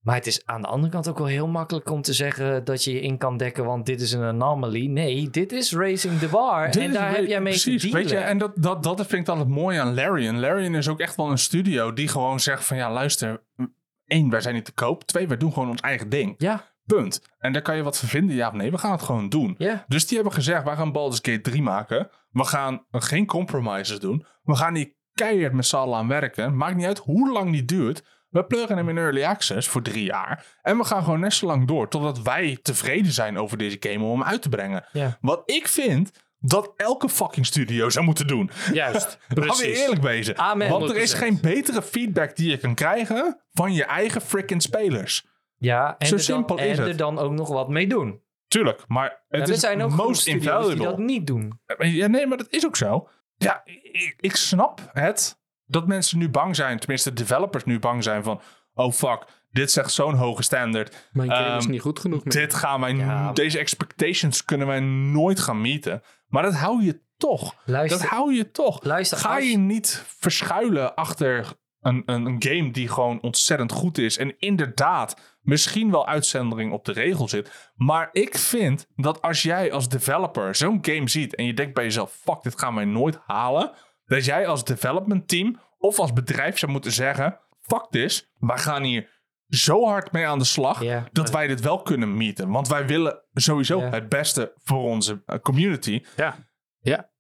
S2: Maar het is aan de andere kant ook wel heel makkelijk om te zeggen dat je je in kan dekken, want dit is een anomaly. Nee, dit is Racing the Bar.
S4: Dit
S2: en
S4: is
S2: daar
S4: een
S2: heb
S4: be-
S2: jij mee
S4: precies,
S2: te dealen.
S4: Dus Weet je, en dat, dat, dat vind ik altijd mooi aan Larian. Larian is ook echt wel een studio die gewoon zegt van... Ja, luister. m, één, wij zijn niet te koop. Twee, wij doen gewoon ons eigen ding.
S2: Ja,
S4: Punt. En daar kan je wat van vinden. Ja of nee, we gaan het gewoon doen.
S2: ja.
S4: Dus die hebben gezegd, wij gaan Baldur's Gate 3 maken. We gaan geen compromises doen. We gaan hier keihard met z'n allen aan werken. Maakt niet uit hoe lang die duurt. We pluggen hem in Early Access voor drie jaar. En we gaan gewoon net zo lang door totdat wij tevreden zijn over deze game om hem uit te brengen.
S2: Ja.
S4: Wat ik vind dat elke fucking studio zou moeten doen.
S3: Juist.
S4: Laten we
S3: Precies.
S4: eerlijk wezen.
S2: Amen.
S4: Want er is
S3: 100%.
S4: geen betere feedback die je kan krijgen van je eigen freaking spelers.
S2: ja en
S4: Zo
S2: er dan,
S4: simpel is
S2: en er
S4: het.
S2: dan ook nog wat mee doen.
S4: Tuurlijk, maar het
S2: Nou,
S4: is
S2: er zijn ook genoeg
S4: most
S2: studios
S4: invaluable.
S2: die dat niet doen.
S4: Eh, Ja, nee, maar dat is ook zo. Ja, ik, ik snap het. Dat mensen nu bang zijn, tenminste developers nu bang zijn van... Oh fuck, dit zegt zo'n hoge standaard.
S3: Mijn game is
S4: Ehm,
S3: dus niet goed genoeg meer.
S4: Dit gaan wij,
S2: Ja.
S4: Deze expectations kunnen wij nooit gaan meten. Maar dat hou je toch.
S2: Luister,
S4: dat hou je toch.
S2: luister
S4: Ga
S2: als-
S4: je niet verschuilen achter een, een, een game die gewoon ontzettend goed is. En inderdaad, misschien wel uitzendering op de regel zit. Maar ik vind dat als jij als developer zo'n game ziet en je denkt bij jezelf: fuck, dit gaan wij nooit halen. Dat jij als development team of als bedrijf zou moeten zeggen: fuck this, wij gaan hier zo hard mee aan de slag
S2: Ja.
S4: dat wij dit wel kunnen meten. Want wij willen sowieso
S2: Ja.
S4: het beste voor onze eh, community.
S3: Ja.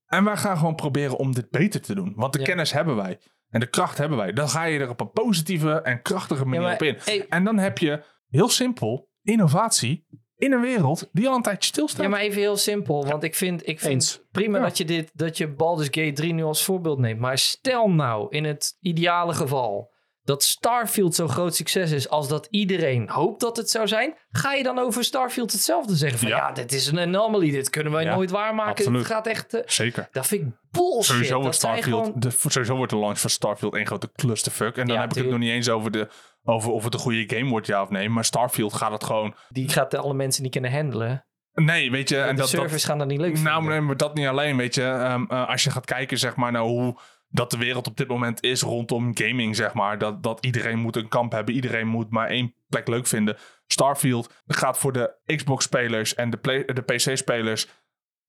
S4: En wij gaan gewoon proberen om dit beter te doen. Want de
S2: Ja.
S4: kennis hebben wij. En de kracht hebben wij. Dan ga je er op een positieve en krachtige manier
S2: maar-
S4: op in.
S2: hey.
S4: En dan heb je, heel simpel, innovatie in een wereld die al een tijdje stilstaat.
S2: Ja, maar even heel simpel. Want ik vind, ik vind
S3: Eens.
S2: prima dat je dit, dat je Baldur's Gate 3 nu als voorbeeld neemt. Maar stel nou in het ideale geval dat Starfield zo'n groot succes is als dat iedereen hoopt dat het zou zijn, ga je dan over Starfield hetzelfde zeggen? Van ja,
S4: Ja.
S2: dit is een anomaly, dit kunnen wij
S4: Ja,
S2: nooit waarmaken.
S4: absoluut.
S2: Het gaat echt. eh,
S4: Zeker.
S2: dat vind ik bullshit.
S4: Sowieso
S2: dat
S4: wordt,
S2: zij
S4: Starfield,
S2: gewoon-
S4: de, sowieso wordt de launch van Starfield één grote clusterfuck. En dan
S2: Ja,
S4: heb ik het nog
S2: tuurlijk.
S4: niet eens over, de, over of het een goede game wordt, ja of nee. Maar Starfield gaat het gewoon...
S2: die gaat alle mensen niet kunnen handelen.
S4: Nee, weet je... en
S2: de
S4: dat, dat,
S2: servers gaan dat niet leuk vinden.
S4: Nou, nee, maar dat niet alleen, weet je. Ehm, eh, als je gaat kijken, zeg maar, naar hoe dat de wereld op dit moment is rondom gaming, zeg maar. Dat, dat iedereen moet een kamp hebben. Iedereen moet maar één plek leuk vinden. Starfield gaat voor de Xbox-spelers en de, play- de PC-spelers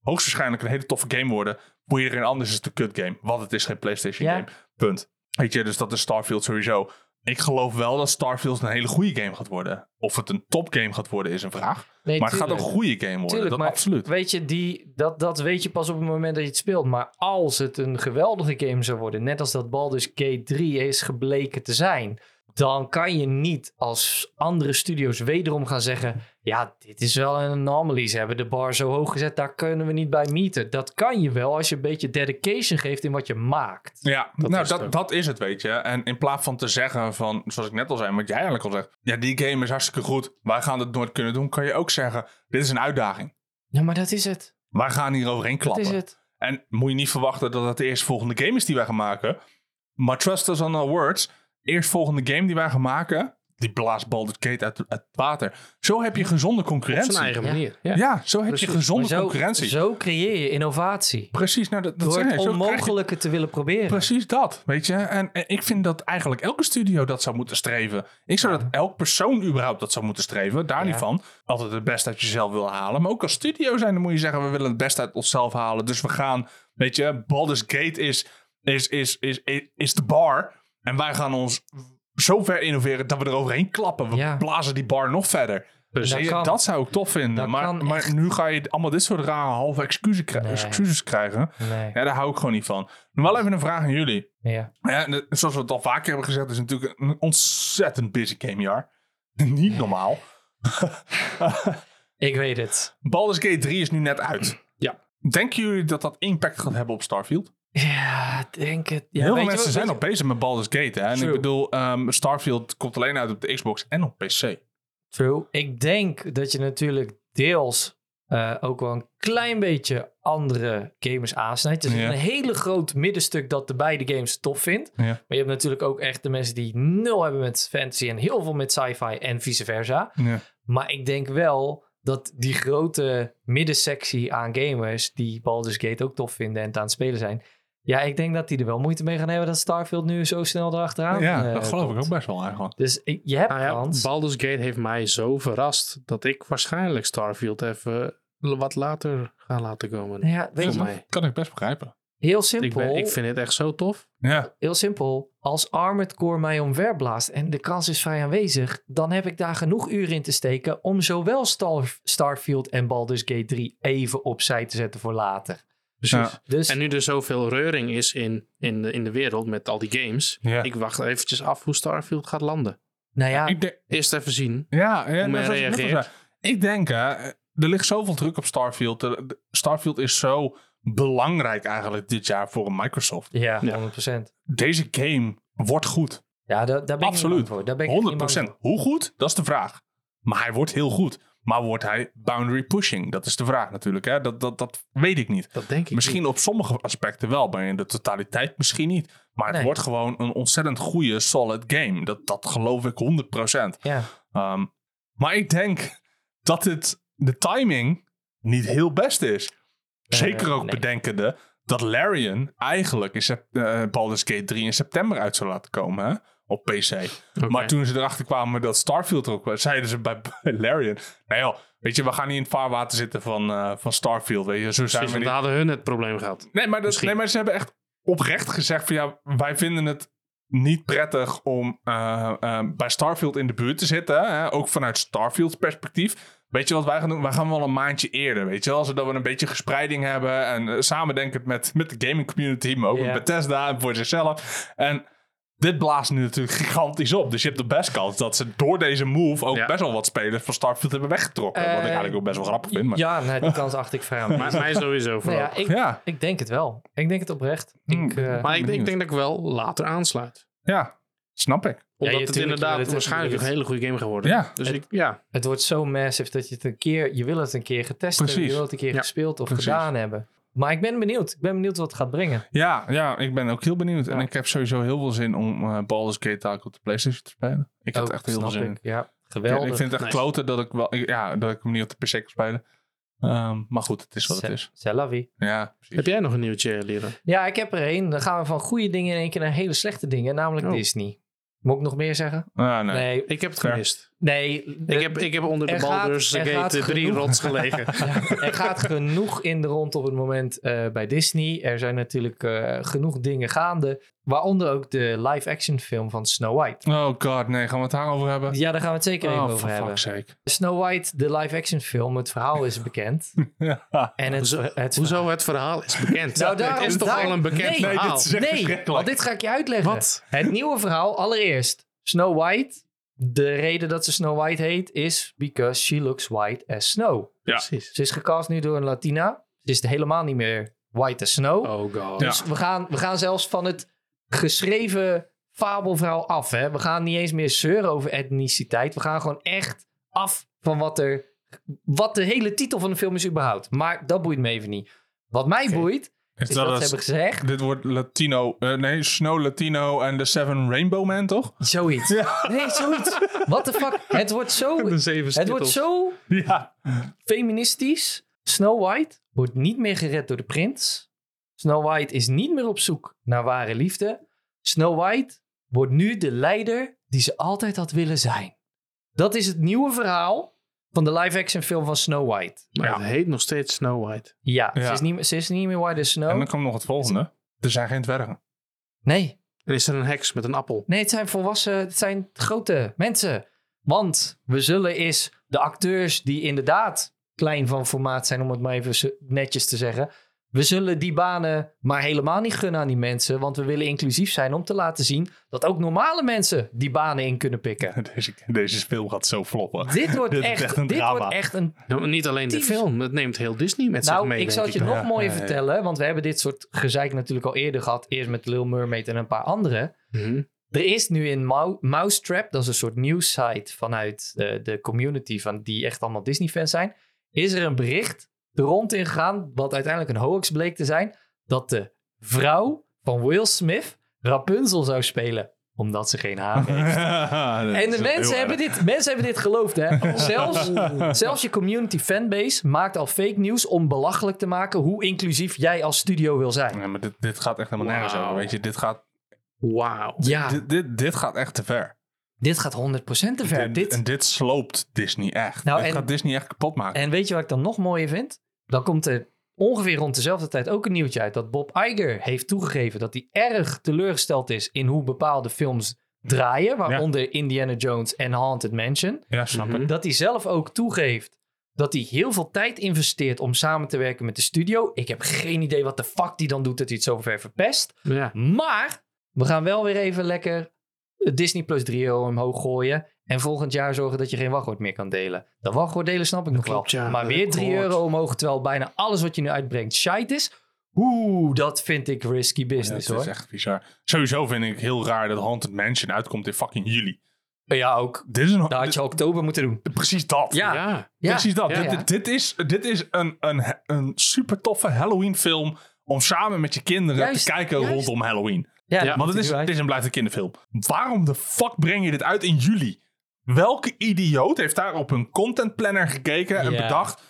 S4: hoogstwaarschijnlijk een hele toffe game worden. Voor iedereen anders is het een kut game. Want het is geen PlayStation
S2: Ja.
S4: game. Punt. Weet je, dus dat is Starfield sowieso. Ik geloof wel dat Starfield een hele goede game gaat worden. Of het een topgame gaat worden, is een vraag.
S2: Nee,
S4: maar het gaat ook
S2: tuurlijk.
S4: een goede game worden.
S2: Tuurlijk,
S4: dat
S2: maar
S4: absoluut.
S2: Weet je, die, dat, dat weet je pas op het moment dat je het speelt. Maar als het een geweldige game zou worden, net als dat Baldur's Gate 3 is gebleken te zijn, dan kan je niet als andere studio's wederom gaan zeggen: Ja, dit is wel een anomaly. Ze hebben de bar zo hoog gezet, daar kunnen we niet bij meten. Dat kan je wel als je een beetje dedication geeft in wat je maakt.
S4: Ja,
S3: Dat
S4: nou,
S3: is het
S4: dat,
S3: ook.
S4: dat is het, weet je. En in plaats van te zeggen van, zoals ik net al zei, wat jij eigenlijk al zegt. Ja, die game is hartstikke goed. Wij gaan het nooit kunnen doen. Kan je ook zeggen, dit is een uitdaging.
S2: Ja, maar dat is het.
S4: Wij gaan hier overheen
S2: Dat
S4: klappen.
S2: is het.
S4: En moet je niet verwachten dat het de eerste volgende game is die wij gaan maken. Maar trust us on our words. Eerst volgende game die wij gaan maken. Die blaast Baldur's Gate uit uit het water. Zo heb je gezonde
S3: Op zijn
S4: concurrentie.
S3: eigen
S2: Ja.
S3: manier. Ja.
S4: Ja, zo heb
S3: Precies.
S4: je
S2: Maar
S4: gezonde
S2: zo,
S4: concurrentie.
S2: zo creëer je innovatie.
S4: Precies, nou dat, dat
S2: Door
S4: zeg
S2: het
S4: ik. Zo krijg je-
S2: onmogelijke te willen proberen.
S4: Precies dat, weet je. En, en ik vind dat eigenlijk elke studio dat zou moeten streven. Ik zou dat elk persoon überhaupt dat zou moeten streven. Daar
S2: Ja.
S4: niet van. Altijd het beste uit jezelf willen halen. Maar ook als studio zijn, dan moet je zeggen... we willen het beste uit onszelf halen. Dus we gaan, weet je... Baldur's Gate is, is, is, is, is, is de bar. En wij gaan ons zo ver innoveren dat we er overheen klappen. We
S2: Ja.
S4: blazen die bar nog verder.
S3: Dus
S2: Dat
S4: Weet je,
S2: kan.
S4: dat zou ik tof vinden.
S2: Dat
S4: Maar,
S2: kan
S4: maar nu ga je allemaal dit soort rare halve excuses, kri-
S2: Nee.
S4: excuses krijgen.
S2: Nee.
S4: Ja, daar hou ik gewoon niet van. Maar wel even een vraag aan jullie.
S2: Ja.
S4: Ja, de- zoals we het al vaker hebben gezegd, is het natuurlijk een ontzettend busy gamejaar. Niet normaal.
S2: Ik weet het.
S4: Baldur's Gate 3 is nu net uit.
S3: Ja.
S4: Denken jullie dat dat impact gaat hebben op Starfield?
S2: Ja, ik denk het. Ja, weet
S4: Heel veel
S2: je
S4: mensen
S2: wat-
S4: zijn al
S2: weet
S4: bezig met Baldur's Gate. Hè? En
S2: True.
S4: ik bedoel, ehm, Starfield komt alleen uit op de Xbox en op PC.
S2: je- True. Ik denk dat je natuurlijk deels eh, ook wel een klein beetje andere gamers aansnijdt. Er zit
S4: Ja.
S2: een hele groot middenstuk dat de beide games tof vindt.
S4: Ja.
S2: Maar je hebt natuurlijk ook echt de mensen die nul hebben met fantasy en heel veel met sci-fi en vice versa.
S4: Ja.
S2: Maar ik denk wel dat die grote middensectie aan gamers die Baldur's Gate ook tof vinden en het aan het spelen zijn. Ja, ik denk dat die er wel moeite mee gaan hebben dat Starfield nu zo snel erachteraan
S4: Ja,
S2: eh,
S4: dat geloof ik
S2: komt.
S4: ook best wel eigenlijk.
S2: Dus ik- je hebt
S3: Nou ja,
S2: kans.
S3: Baldur's Gate heeft mij zo verrast dat ik waarschijnlijk Starfield even l- wat later ga laten komen.
S2: Nou ja, weet
S3: Voor
S2: je,
S3: mij.
S4: Kan ik best begrijpen.
S2: heel
S3: Ik,
S2: simpel.
S3: ben, ik vind het echt zo tof.
S4: Ja,
S2: Heel simpel. Als Armored Core mij omverblaast en de kans is vrij aanwezig, dan heb ik daar genoeg uren in te steken om zowel Star- Starfield en Baldur's Gate 3 even opzij te zetten voor later.
S3: Precies.
S4: Ja.
S2: Dus
S3: En nu er zoveel reuring is in, in, de, in de wereld met al die games.
S4: Ja.
S3: Ik wacht eventjes af hoe Starfield gaat landen.
S2: nou ja,
S4: ik denk,
S3: Eerst even zien.
S4: Ja, ja
S3: men
S4: nou, zoals ik net al
S3: reageert.
S4: zei. Ik denk, hè, er ligt zoveel druk op Starfield. De- de- Starfield is zo belangrijk eigenlijk dit jaar voor een Microsoft.
S2: ja,
S3: Ja.
S2: 100%.
S4: Deze game wordt goed.
S2: Ja, daar, daar ben ik
S4: Absoluut.
S2: niet bang voor. Daar ben ik echt
S4: 100
S2: niet bang voor.
S4: Hoe goed? Dat is de vraag. Maar hij wordt heel goed. Maar wordt hij boundary pushing? Dat is de vraag natuurlijk. Hè? Dat, dat, dat weet ik niet.
S3: Dat denk ik.
S4: Misschien op sommige aspecten wel, maar in de totaliteit misschien niet. Maar het
S2: Nee.
S4: wordt gewoon een ontzettend goede, solid game. Dat, dat geloof ik 100
S2: Ja.
S4: Ehm, maar ik denk dat het de timing niet heel best is. Zeker ook
S2: nee.
S4: bedenkende dat Larian eigenlijk in sep- eh, Baldur's Gate 3 in september uit zou laten komen hè? op PC.
S3: Oké.
S4: Maar toen ze erachter kwamen dat Starfield er ook was, zeiden ze bij bij Larian... Nou joh, weet je, we gaan niet in het vaarwater zitten van, eh, van Starfield, weet je. Zo zijn
S3: Precies,
S4: we
S3: want
S4: niet.
S3: dan hadden hun het probleem gehad.
S4: Nee maar, dat,
S3: Misschien.
S4: nee, maar ze hebben echt oprecht gezegd van ja, wij vinden het niet prettig om eh, eh, bij Starfield in de buurt te zitten. Hè? Ook vanuit Starfield's perspectief. Weet je wat wij gaan doen? Wij gaan wel een maandje eerder, weet je wel? Zodat we een beetje gespreiding hebben en eh, samendenkend met, met de gaming community, maar ook
S2: Ja.
S4: met Bethesda en voor zichzelf. En dit blaast nu natuurlijk gigantisch op. Dus je hebt de best kans dat ze door deze move ook
S3: Ja.
S4: best wel wat spelers van Starfield hebben weggetrokken. wat ik
S2: Eh,
S4: eigenlijk ook best wel grappig vind. Maar, ja.
S2: Ja, nee, die kans acht ik vrij aan.
S3: Maar mij sowieso
S2: Nou
S3: vooral.
S2: ja, ik,
S4: Ja,
S2: ik denk het wel. Ik denk het oprecht.
S4: Hmm.
S2: Ik, eh,
S3: maar ik,
S4: benieuwd.
S3: ik denk dat ik wel later aansluit.
S4: ja. Snap ik.
S3: Omdat
S2: je-
S3: het
S2: tuurlijk,
S3: inderdaad
S2: het-
S3: waarschijnlijk
S2: het-
S3: een hele goede game geworden.
S4: Ja.
S3: Dus
S2: Het-
S3: ik, ja.
S2: Het wordt zo massive dat je het een keer, je wil het een keer getest hebben,
S4: Precies.
S2: je wil het een keer
S3: Ja,
S2: gespeeld of
S4: precies.
S2: gedaan hebben. Maar ik ben benieuwd. Ik ben benieuwd wat het gaat brengen.
S4: Ja, ja, ik ben ook heel benieuwd. En
S2: Ja.
S4: ik heb sowieso heel veel zin om eh Baldur's Gate taak op de Playstation te spelen. Ik heb
S2: Ook,
S4: er echt heel veel
S2: Oh, snap
S4: zin in.
S2: ik. Ja,
S4: Ja,
S2: geweldig.
S4: ik vind het echt
S3: Nice.
S4: kloten dat ik, wel, ik- ja, dat ik hem niet op de PC kan spelen. Ehm, maar goed, het is wat het is.
S2: C'est la vie.
S4: Ja, precies.
S3: Heb jij nog een nieuwtje, leren?
S2: Ja, ik heb er één. Dan gaan we van goede dingen in één keer naar hele slechte dingen, namelijk
S3: Oh.
S2: Disney. Moet ik nog meer zeggen?
S4: Ah, nee.
S2: Nee,
S3: Ik heb het
S4: Ver.
S3: gemist.
S2: nee.
S3: Ik heb, ik heb onder de
S2: er gaat-
S3: Baldur's
S2: er gaat
S3: Gate 3
S2: genoeg-
S3: rots gelegen.
S2: Ja, er gaat genoeg in de rond op het moment eh, bij Disney. Er zijn natuurlijk eh, genoeg dingen gaande. Waaronder ook de live-action film van Snow White.
S4: Oh god, nee. Gaan we het daarover hebben?
S2: Ja, daar gaan we het zeker even
S4: oh,
S2: over
S4: for
S2: hebben.
S4: fuck's sake.
S2: Snow White, de live-action film. Het verhaal is bekend.
S4: Ja.
S2: En het,
S3: Hoezo-
S2: het
S3: Hoezo het verhaal is bekend?
S2: Nou,
S3: het
S2: daarom-
S3: is toch
S2: daarom-
S3: al een bekend
S2: nee.
S4: dit
S3: verhaal?
S4: is echt
S2: Nee,
S4: verschrikkelijk.
S2: want dit ga ik je uitleggen.
S3: Wat?
S2: Het nieuwe verhaal, allereerst. Snow White, de reden dat ze Snow White heet, is because she looks white as snow.
S3: Precies.
S2: Ze is gecast nu door een Latina. Ze is helemaal niet meer white as snow.
S3: Oh god.
S4: Ja.
S2: Dus we gaan, we gaan zelfs van het geschreven fabelverhaal af. Hè? We gaan niet eens meer zeuren over etniciteit. We gaan gewoon echt af van wat er... Wat de hele titel van de film is überhaupt. Maar dat boeit me even niet. Wat mij
S3: Oké.
S2: boeit,
S4: Is
S2: is dat,
S4: dat
S2: ze hebben
S4: het-
S2: gezegd...
S4: Dit wordt Latino... eh, nee, Snow Latino en de Seven Rainbow Man, toch?
S2: Zoiets. Nee, zoiets. What the fuck? Het wordt zo... Het wordt zo
S4: Ja.
S2: feministisch. Snow White wordt niet meer gered door de prins. Snow White is niet meer op zoek naar ware liefde. Snow White wordt nu de leider die ze altijd had willen zijn. Dat is het nieuwe verhaal van de live-action film van Snow White.
S3: Maar
S4: Ja.
S3: het heet nog steeds Snow White.
S2: Ja,
S4: Ja.
S2: Ze, is niet, ze is niet meer White as
S4: En
S2: Snow.
S4: dan komt nog het volgende. Er zijn geen dwergen.
S2: Nee,
S3: Er is er een heks met een appel.
S2: Nee, het zijn volwassen, het zijn grote mensen. Want we zullen eens de acteurs die inderdaad klein van formaat zijn, om het maar even zo- netjes te zeggen. We zullen die banen maar helemaal niet gunnen aan die mensen. Want we willen inclusief zijn om te laten zien dat ook normale mensen die banen in kunnen pikken.
S4: Deze, deze film gaat zo floppen.
S2: Dit wordt
S4: Dit is
S2: echt,
S4: echt een
S2: dit
S4: drama.
S2: wordt echt een
S3: Ja, maar Nou, niet alleen de
S2: Typisch.
S3: film, het neemt heel Disney met zich
S2: nou,
S3: mee.
S2: ik zal het
S3: denk
S2: je
S3: ik
S2: nog
S3: dan.
S2: mooier
S4: ja, ja.
S2: vertellen. Want we hebben dit soort gezeik natuurlijk al eerder gehad. Eerst met Lil Mermaid en een paar andere.
S3: Mhm.
S2: Er is nu in Mou- Mousetrap, dat is een soort news site vanuit eh, de community van die echt allemaal Disney fans zijn, is er een bericht de rond ingegaan, wat uiteindelijk een hoax bleek te zijn, dat de vrouw van Will Smith Rapunzel zou spelen, omdat ze geen haar heeft. En de mensen hebben, dit, mensen hebben dit geloofd, hè? Zelfs, zelfs je community fanbase maakt al fake news om belachelijk te maken hoe inclusief jij als studio wil zijn.
S4: Nee, maar dit, dit gaat echt helemaal nergens
S3: Wauw.
S4: over, weet je. Dit gaat,
S3: Wauw.
S2: Ja,
S4: dit, dit, dit gaat echt te ver.
S2: dit gaat 100% Ah. te ver.
S4: Dit-
S2: Dit,
S4: En dit sloopt Disney echt.
S2: Nou,
S4: dit
S2: en-
S4: gaat Disney echt kapot maken.
S2: En weet je wat ik dan nog mooier vind? Dan komt er ongeveer rond dezelfde tijd ook een nieuwtje uit dat Bob Iger heeft toegegeven dat hij erg teleurgesteld is in hoe bepaalde films draaien, waaronder Indiana Jones en Haunted Mansion.
S4: ja, snap
S3: Mhm.
S4: ik.
S2: Dat hij zelf ook toegeeft dat hij heel veel tijd investeert om samen te werken met de studio. Ik heb geen idee wat de fuck die dan doet dat hij het zo ver verpest.
S3: Ja.
S2: Maar we gaan wel weer even lekker het Disney Plus 3 euro omhoog gooien. En volgend jaar zorgen dat je geen wachtwoord meer kan delen. Dat wachtwoord delen snap ik nog
S3: klopt,
S2: wel.
S3: ja.
S2: maar
S3: Dat
S2: weer
S3: heb ik
S2: 3
S3: gehoord.
S2: euro omhoog, terwijl bijna alles wat je nu uitbrengt shit is. Oeh, dat vind ik risky business
S4: dat
S2: hoor.
S4: is echt bizar. Sowieso vind ik heel raar dat Haunted Mansion uitkomt in fucking juli.
S2: Ja, ook.
S4: Dit is een,
S2: Daar had je al oktober moeten doen.
S4: dit- precies dat.
S2: Ja.
S3: ja.
S2: Ja,
S4: Precies dat.
S2: ja,
S4: dit,
S2: ja.
S4: Dit, dit is, dit is een, een, een super toffe Halloween film om samen met je kinderen
S2: Juist,
S4: te kijken
S2: juist.
S4: rondom Halloween.
S2: Ja,
S3: Ja,
S2: dat
S4: Want
S2: moet
S4: het is,
S2: hij nu
S4: het
S2: uit.
S4: is en blijft een kinderfilm. Waarom de fuck breng je dit uit in juli? Welke idioot heeft daar op een content planner gekeken en
S2: Ja.
S4: bedacht...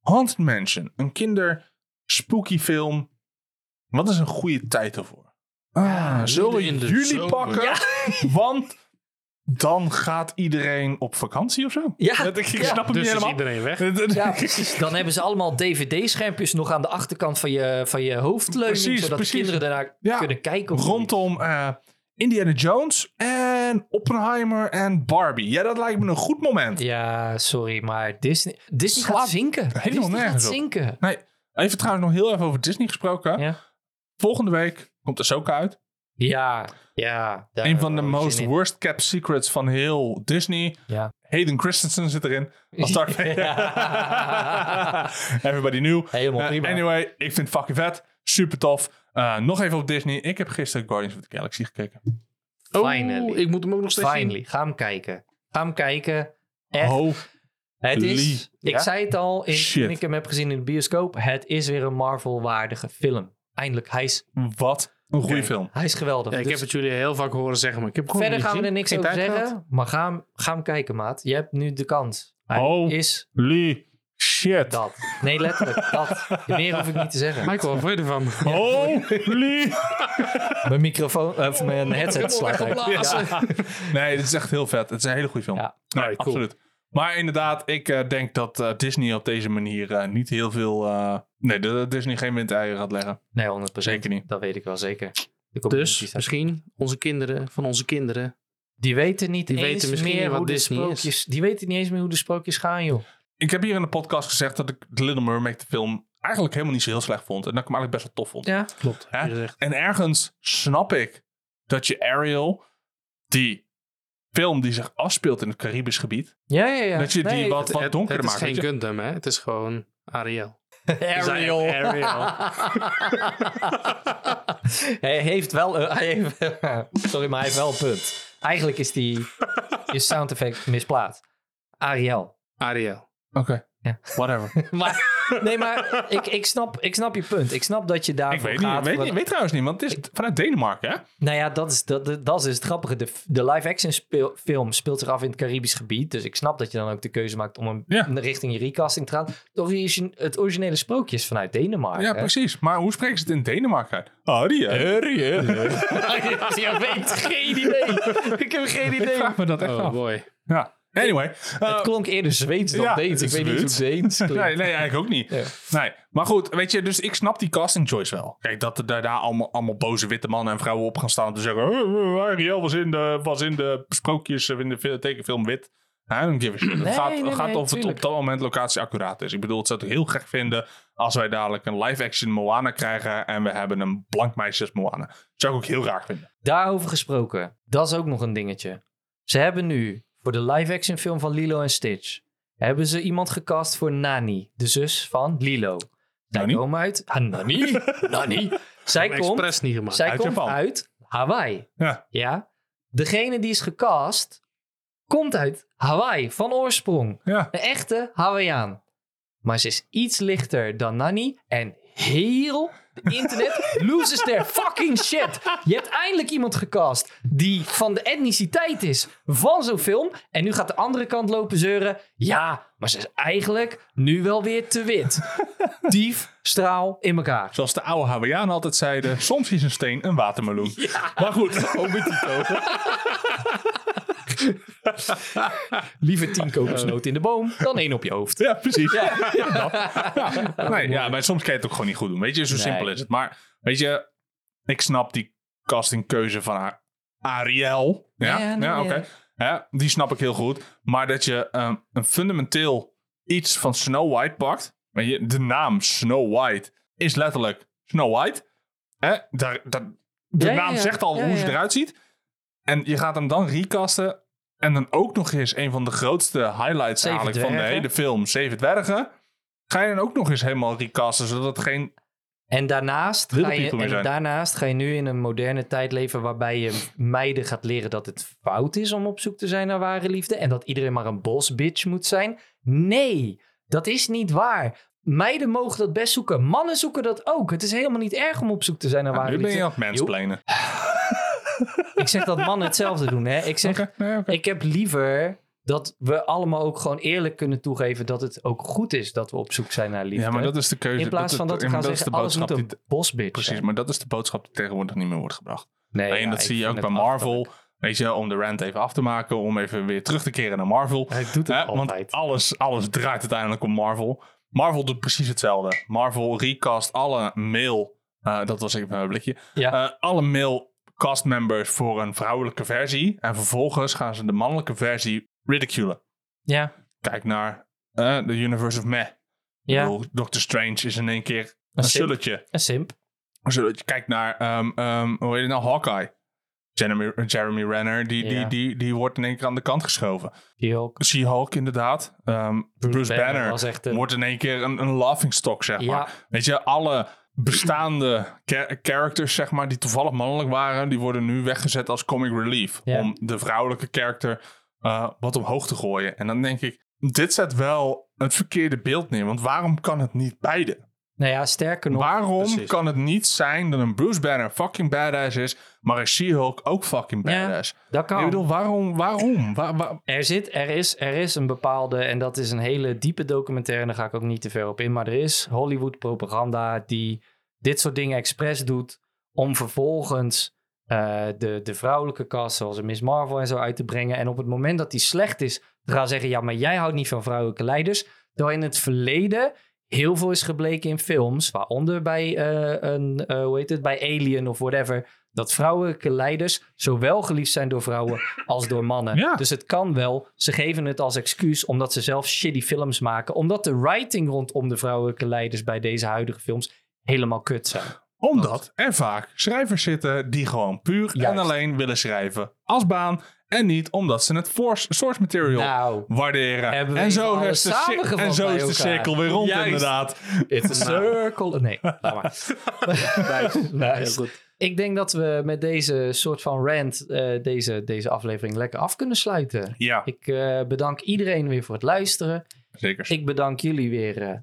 S4: Haunted Mansion, een kinder spooky film. Wat is een goede tijd ervoor? Ah,
S3: Ja,
S4: zullen we
S3: midden in de
S4: juli
S3: zomer.
S4: pakken? Want dan gaat iedereen op vakantie of zo.
S2: Ja.
S4: Dat- Ik, ik
S2: Ja.
S4: snap het
S3: Dus
S4: niet
S3: is
S4: helemaal.
S3: iedereen weg.
S2: Ja, precies. Dan hebben ze allemaal dvd-schermpjes nog aan de achterkant van je, van je hoofdleuning.
S4: Precies,
S2: zodat
S4: precies.
S2: de kinderen daarna
S4: Ja.
S2: kunnen kijken. of niet.
S4: Rondom eh, Indiana Jones en Oppenheimer en Barbie. Ja, dat lijkt me een goed moment.
S2: Ja, sorry, maar Disney, Disney gaat
S4: Slaat
S2: zinken. Disney
S4: nergens
S2: gaat
S4: op.
S2: zinken.
S4: Nee, even trouwens nog heel even over Disney gesproken.
S2: Ja.
S4: Volgende week komt Ahsoka uit.
S2: Ja, ja. daar
S4: een van de
S2: heb ik Eh, oh, zin
S4: most
S2: in.
S4: worst kept secrets van heel Disney.
S2: Ja.
S4: Hayden Christensen zit erin. Als Darth Vader.
S2: Ja.
S4: Everybody new.
S2: Helemaal
S4: Eh,
S2: prima.
S4: anyway, ik vind het fucking vet. Super tof. Eh, nog even op Disney. Ik heb gisteren Guardians of the Galaxy gekeken.
S2: Finally.
S3: Oh, ik moet hem ook nog steeds zien.
S2: Finally, ga hem kijken. Ga hem kijken. Echt.
S4: Oh,
S2: het is,
S4: Lee.
S2: ik
S4: Ja?
S2: zei het al in,
S4: Shit.
S2: toen ik hem heb gezien in de bioscoop. Het is weer een Marvel-waardige film. Eindelijk, hij is,
S4: wat een goede
S3: Oké.
S4: film.
S2: hij is geweldig.
S3: Ja, ik
S2: Dus
S3: heb het jullie heel vaak horen zeggen, maar ik heb gewoon
S2: verder gaan we er niks over zeggen.
S3: Gehad.
S2: Maar ga hem, ga hem kijken, maat. Je hebt nu de kans. Hij
S4: Oh.
S2: is
S4: Lee. Shit.
S2: dat. Nee, letterlijk, dat. Meer hoef ik niet te zeggen.
S3: Michael, wat vond je ervan?
S4: Oh, Lee.
S2: Mijn microfoon, eh, of mijn headset slaat uit. Ja.
S4: Nee, dit is echt heel vet. Het is een hele goede film.
S2: Ja.
S4: Nee,
S3: Alright, cool.
S4: absoluut. Maar inderdaad, ik eh, denk dat eh, Disney op deze manier eh, niet heel veel... eh, nee, dat Disney geen windeieren gaat leggen.
S2: Nee, 100
S4: Zeker niet.
S2: Dat weet ik wel zeker. De community
S3: Dus
S2: staat-
S3: misschien onze kinderen van onze kinderen.
S2: Die weten niet
S3: Die
S2: eens
S3: weten misschien
S2: meer
S3: niet
S2: hoe
S3: wat
S2: de
S3: Disney is.
S2: sprookjes... Die weten niet eens meer hoe de sprookjes gaan, joh.
S4: Ik heb hier in de podcast gezegd dat ik The Little Mermaid de film eigenlijk helemaal niet zo heel slecht vond. En dat ik hem eigenlijk best wel tof vond.
S2: Ja.
S3: Klopt.
S4: Hè? En ergens snap ik dat je Ariel, die film die zich afspeelt in het Caribisch gebied,
S2: Ja, ja, ja.
S4: dat je die
S2: Nee,
S4: wat, wat
S3: het,
S4: donkerder
S3: het is
S4: maakt.
S3: geen
S4: weet je?
S3: Gundam, hè? Het is gewoon Ariel.
S2: Ariel.
S3: Zijn Ariel.
S2: hij heeft wel... een- hij heeft- sorry, maar hij heeft wel een punt. Eigenlijk is die... Is sound effect misplaatst. Ariel.
S3: Ariel.
S4: Oké,
S3: Ah,
S2: Ja.
S4: whatever.
S2: Maar, nee, maar ik, ik, snap, ik snap je punt. Ik snap dat je
S4: ik
S2: daarvoor
S4: weet, niet,
S2: gaat.
S4: weet,
S2: want-
S4: niet, weet trouwens niet, want het is vanuit Denemarken, hè?
S2: Nou ja, dat is, dat, dat is dus het grappige. De, de live-action speel- film speelt zich af in het Caribisch gebied. Dus ik snap dat je dan ook de keuze maakt om hem
S4: Ja.
S2: richting je recasting te gaan. Het, origi- het originele sprookje is vanuit Denemarken.
S4: Ja, precies. Maar hoe spreken ze het in Denemarken uit? Ariel. Ariel.
S2: Je weet geen idee. Ik heb geen idee.
S4: Vraag me dat echt
S3: Oh
S4: af.
S3: boy.
S4: Ja. Anyway. eh,
S2: Het klonk eerder Zweeds dan
S4: ja,
S2: Deens. Ik weet niet hoe
S4: Zweeds.
S2: Deens klinkt.
S4: Nee, nee, eigenlijk ook niet. Nee. Maar goed, weet je, dus ik snap die casting choice wel. Kijk, dat er daar daar allemaal, allemaal boze witte mannen en vrouwen op gaan staan om te zeggen... "Eh, eh, Ariel was in de, was in de sprookjes, eh, in de fil- tekenfilm wit. I don't give a shit. Het
S2: Nee,
S4: gaat,
S2: nee,
S4: het
S2: nee,
S4: gaat of het
S2: tuurlijk.
S4: op dat moment locatie accuraat is. Ik bedoel, het zou het heel gek vinden als wij dadelijk een live-action Moana krijgen... en we hebben een blank meisjes Moana. Zou ik ook heel raar vinden.
S2: Daarover gesproken, dat is ook nog een dingetje. Ze hebben nu voor de live-action film van Lilo en Stitch... hebben ze iemand gecast voor Nani, de zus van Lilo. Zij
S4: Nani?
S2: komen uit... Ah, Nani? Nani? Zij
S3: Heb ik
S2: komt,
S3: expres niet gemaakt.
S2: zij
S4: Uit
S2: komt
S4: Japan.
S2: uit Hawaii.
S4: Ja.
S2: Ja? Degene die is gecast, komt uit Hawaii, van oorsprong.
S4: Ja.
S2: Een echte Hawaiian. Maar ze is iets lichter dan Nani. En heel de internet loses their fucking shit. Je hebt eindelijk iemand gecast die van de etniciteit is van zo'n film. En nu gaat de andere kant lopen zeuren. Ja, maar ze is eigenlijk nu wel weer te wit. Dief, straal in elkaar.
S4: Zoals de oude Hawaiianen altijd zeiden, soms is een steen een watermeloen. Maar goed.
S2: Liever tien kokosnoten in de boom dan één op je hoofd.
S4: Ja, precies. Ja. Ja. Nee, ja, maar soms kan je het ook gewoon niet goed doen. Weet je, zo
S2: Nee.
S4: simpel is het. Maar weet je, ik snap die castingkeuze van haar. Ariel. Ja,
S2: Ja,
S4: ja,
S2: nee,
S4: oké.
S2: ja.
S4: Ja, die snap ik heel goed. Maar dat je ehm, een fundamenteel iets van Snow White pakt. Weet je, de naam Snow White is letterlijk Snow White. Hè? Daar, daar, de
S2: Ja, ja,
S4: naam
S2: ja.
S4: zegt al
S2: Ja,
S4: hoe
S2: ja,
S4: ze
S2: ja.
S4: eruit ziet. En je gaat hem dan recasten. En dan ook nog eens een van de grootste highlights
S2: Zeven
S4: eigenlijk van de
S2: dwergen.
S4: hele film, Zeven Dwergen. Ga je dan ook nog eens helemaal recasten, zodat het geen...
S2: En daarnaast,
S4: Wilde
S2: ga je,
S4: people meer
S2: en
S4: zijn.
S2: daarnaast ga je nu in een moderne tijd leven waarbij je meiden gaat leren dat het fout is om op zoek te zijn naar ware liefde en dat iedereen maar een bosbitch moet zijn. Nee, dat is niet waar. Meiden mogen dat best zoeken. Mannen zoeken dat ook. Het is helemaal niet erg om op zoek te zijn naar ware
S4: nu ben
S2: liefde.
S4: je aan het mansplainen.
S2: Ik zeg dat mannen hetzelfde doen. Hè? Ik zeg,
S4: Oké, nee, oké.
S2: ik heb liever dat we allemaal ook gewoon eerlijk kunnen toegeven dat het ook goed is dat we op zoek zijn naar liefde.
S4: Ja, maar dat is de keuze.
S2: in plaats van dat we
S4: ja, maar
S2: gaan zeggen,
S4: is de
S2: alles
S4: boodschap
S2: moet een
S4: die,
S2: bosbitch
S4: Precies,
S2: zijn.
S4: maar dat is de boodschap die tegenwoordig niet meer wordt gebracht.
S2: Nee,
S4: en
S2: ja,
S4: dat
S2: ik
S4: zie je
S2: vind
S4: ook
S2: het
S4: bij
S2: achterlijk.
S4: Marvel. Weet je, om de rant even af te maken, om even weer terug te keren naar Marvel.
S2: Hij doet het
S4: Hè,
S2: altijd.
S4: Want alles, alles draait uiteindelijk om Marvel. Marvel doet precies hetzelfde. Marvel recast alle mail. eh, dat was even een blikje.
S2: Ja.
S4: Eh, alle male castmembers voor een vrouwelijke versie. En vervolgens gaan ze de mannelijke versie ridiculen.
S2: Ja,
S4: Kijk naar eh, The Universe of Meh.
S2: ja.
S4: Ik bedoel, Doctor Strange is in één keer een
S2: simp.
S4: sulletje.
S2: Een simp.
S4: Een sulletje. Kijk naar, ehm, ehm, hoe heet het nou, Hawkeye. Jeremy, Jeremy Renner, die,
S2: Ja.
S4: die, die, die wordt in één keer aan de kant geschoven.
S2: Die ook.
S4: She-Hulk inderdaad. Ehm, Bruce, Banner,
S2: was echt een-
S4: wordt in één keer een, een laughingstock, zeg
S2: Ja.
S4: maar. Weet je, alle bestaande cha- characters, zeg maar, die toevallig mannelijk waren, die worden nu weggezet als comic relief.
S2: Ja.
S4: Om de vrouwelijke character eh, wat omhoog te gooien. En dan denk ik, dit zet wel het verkeerde beeld neer. Want waarom kan het niet beide?
S2: Nou ja, sterker nog.
S4: Waarom
S3: precies.
S4: kan het niet zijn dat een Bruce Banner fucking badass is, maar een She-Hulk ook fucking
S2: Ja,
S4: badass?
S2: dat kan.
S4: Ik bedoel, waarom? waarom? Waar- waar-
S2: Er, zit, er, is, er is een bepaalde, en dat is een hele diepe documentaire, en daar ga ik ook niet te ver op in, maar er is Hollywood propaganda die dit soort dingen expres doet om vervolgens eh, de, de vrouwelijke kast, zoals een Miss Marvel en zo, uit te brengen. En op het moment dat die slecht is, te gaan zeggen, ja, maar jij houdt niet van vrouwelijke leiders. Terwijl in het verleden heel veel is gebleken in films, waaronder bij, eh, een, eh, hoe heet het, bij Alien of whatever, dat vrouwelijke leiders zowel geliefd zijn door vrouwen als door mannen.
S4: Ja.
S2: Dus het kan wel. Ze geven het als excuus omdat ze zelf shitty films maken. Omdat de writing rondom de vrouwelijke leiders bij deze huidige films helemaal kut zijn.
S4: Omdat er vaak schrijvers zitten die gewoon puur en
S2: Juist.
S4: alleen willen schrijven als baan. En niet omdat ze het force- source material
S2: Nou, hebben
S4: waarderen.
S2: we
S4: En zo,
S2: even
S4: is de,
S2: alles
S4: cir-
S2: samengevat
S4: en zo
S2: bij
S4: is de
S2: elkaar.
S4: cirkel weer rond,
S2: Juist.
S4: inderdaad.
S2: it's a
S4: Nou.
S3: nou,
S2: circle. Nee, laat maar.
S3: Heel
S2: Nice.
S3: goed.
S2: Ik denk dat we met deze soort van rant eh, deze, deze aflevering lekker af kunnen sluiten.
S4: Ja,
S2: Ik eh, bedank iedereen weer voor het luisteren.
S4: zeker.
S2: Ik bedank jullie weer eh,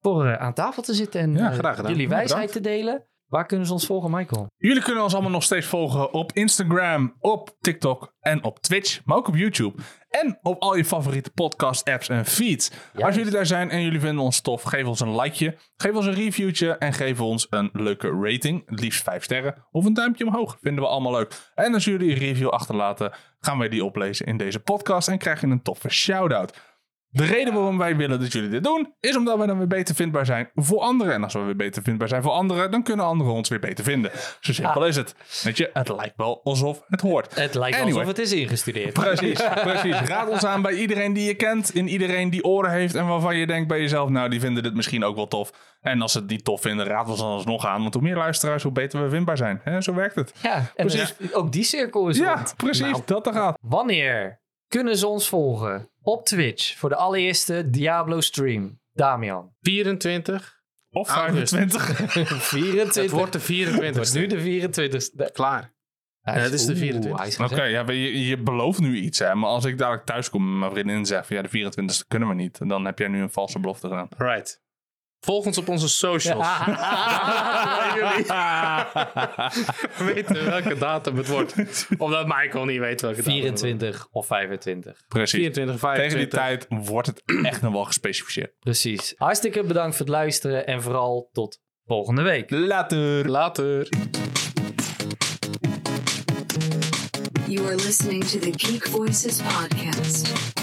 S2: voor eh, aan tafel te zitten en
S4: Ja,
S2: eh,
S4: graag gedaan.
S2: jullie
S4: Ja,
S2: wijsheid
S4: bedankt.
S2: te delen. Waar kunnen ze ons volgen, Michael?
S4: Jullie kunnen ons allemaal nog steeds volgen op Instagram, op TikTok en op Twitch, maar ook op YouTube. En op al je favoriete podcast apps en feeds. Als jullie daar zijn en jullie vinden ons tof, geef ons een likeje, geef ons een reviewtje en geef ons een leuke rating. Het liefst 5 sterren of een duimpje omhoog. Vinden we allemaal leuk. En als jullie een review achterlaten, gaan wij die oplezen in deze podcast en krijg je een toffe shout-out. De reden waarom wij willen dat jullie dit doen, is omdat wij dan weer beter vindbaar zijn voor anderen. En als we weer beter vindbaar zijn voor anderen, dan kunnen anderen ons weer beter vinden. Zo simpel is het. Weet je, het lijkt wel alsof het hoort.
S2: Het lijkt
S4: Anyway.
S2: alsof het is ingestudeerd.
S4: Precies, precies. Raad ons aan bij iedereen die je kent, in iedereen die oren heeft en waarvan je denkt bij jezelf, nou die vinden dit misschien ook wel tof. En als ze het niet tof vinden, raad ons dan alsnog aan, want hoe meer luisteraars, hoe beter we vindbaar zijn. Hè, zo werkt het.
S2: Ja, en
S4: Precies.
S2: dus ook die cirkel is
S4: Ja,
S2: rond.
S4: precies,
S2: Nou,
S4: dat er gaat.
S2: wanneer kunnen ze ons volgen op Twitch voor de allereerste Diablo stream? Damian.
S3: 24.
S4: Of
S3: August.
S4: 25.
S2: 24.
S3: Het wordt de 24.
S2: nu de 24
S3: Klaar. Ja, het is de 24ste.
S4: Oké, ja, maar je, je belooft nu iets, hè. Maar als ik dadelijk thuis kom en mijn vriendin en zeg van, ja, de 24e kunnen we niet. Dan heb jij nu een valse belofte gedaan.
S3: Right. Volg ons op onze socials.
S2: Ah.
S3: We weten welke datum het wordt. Omdat Michael niet weet welke datum het wordt.
S2: 24 of 25.
S4: Precies.
S3: 24, 25.
S4: Tegen die tijd wordt het echt nog wel gespecificeerd.
S2: Precies. Hartstikke bedankt voor het luisteren en vooral tot volgende week.
S4: Later.
S3: Later.
S1: You are listening to the Geek Voices Podcast.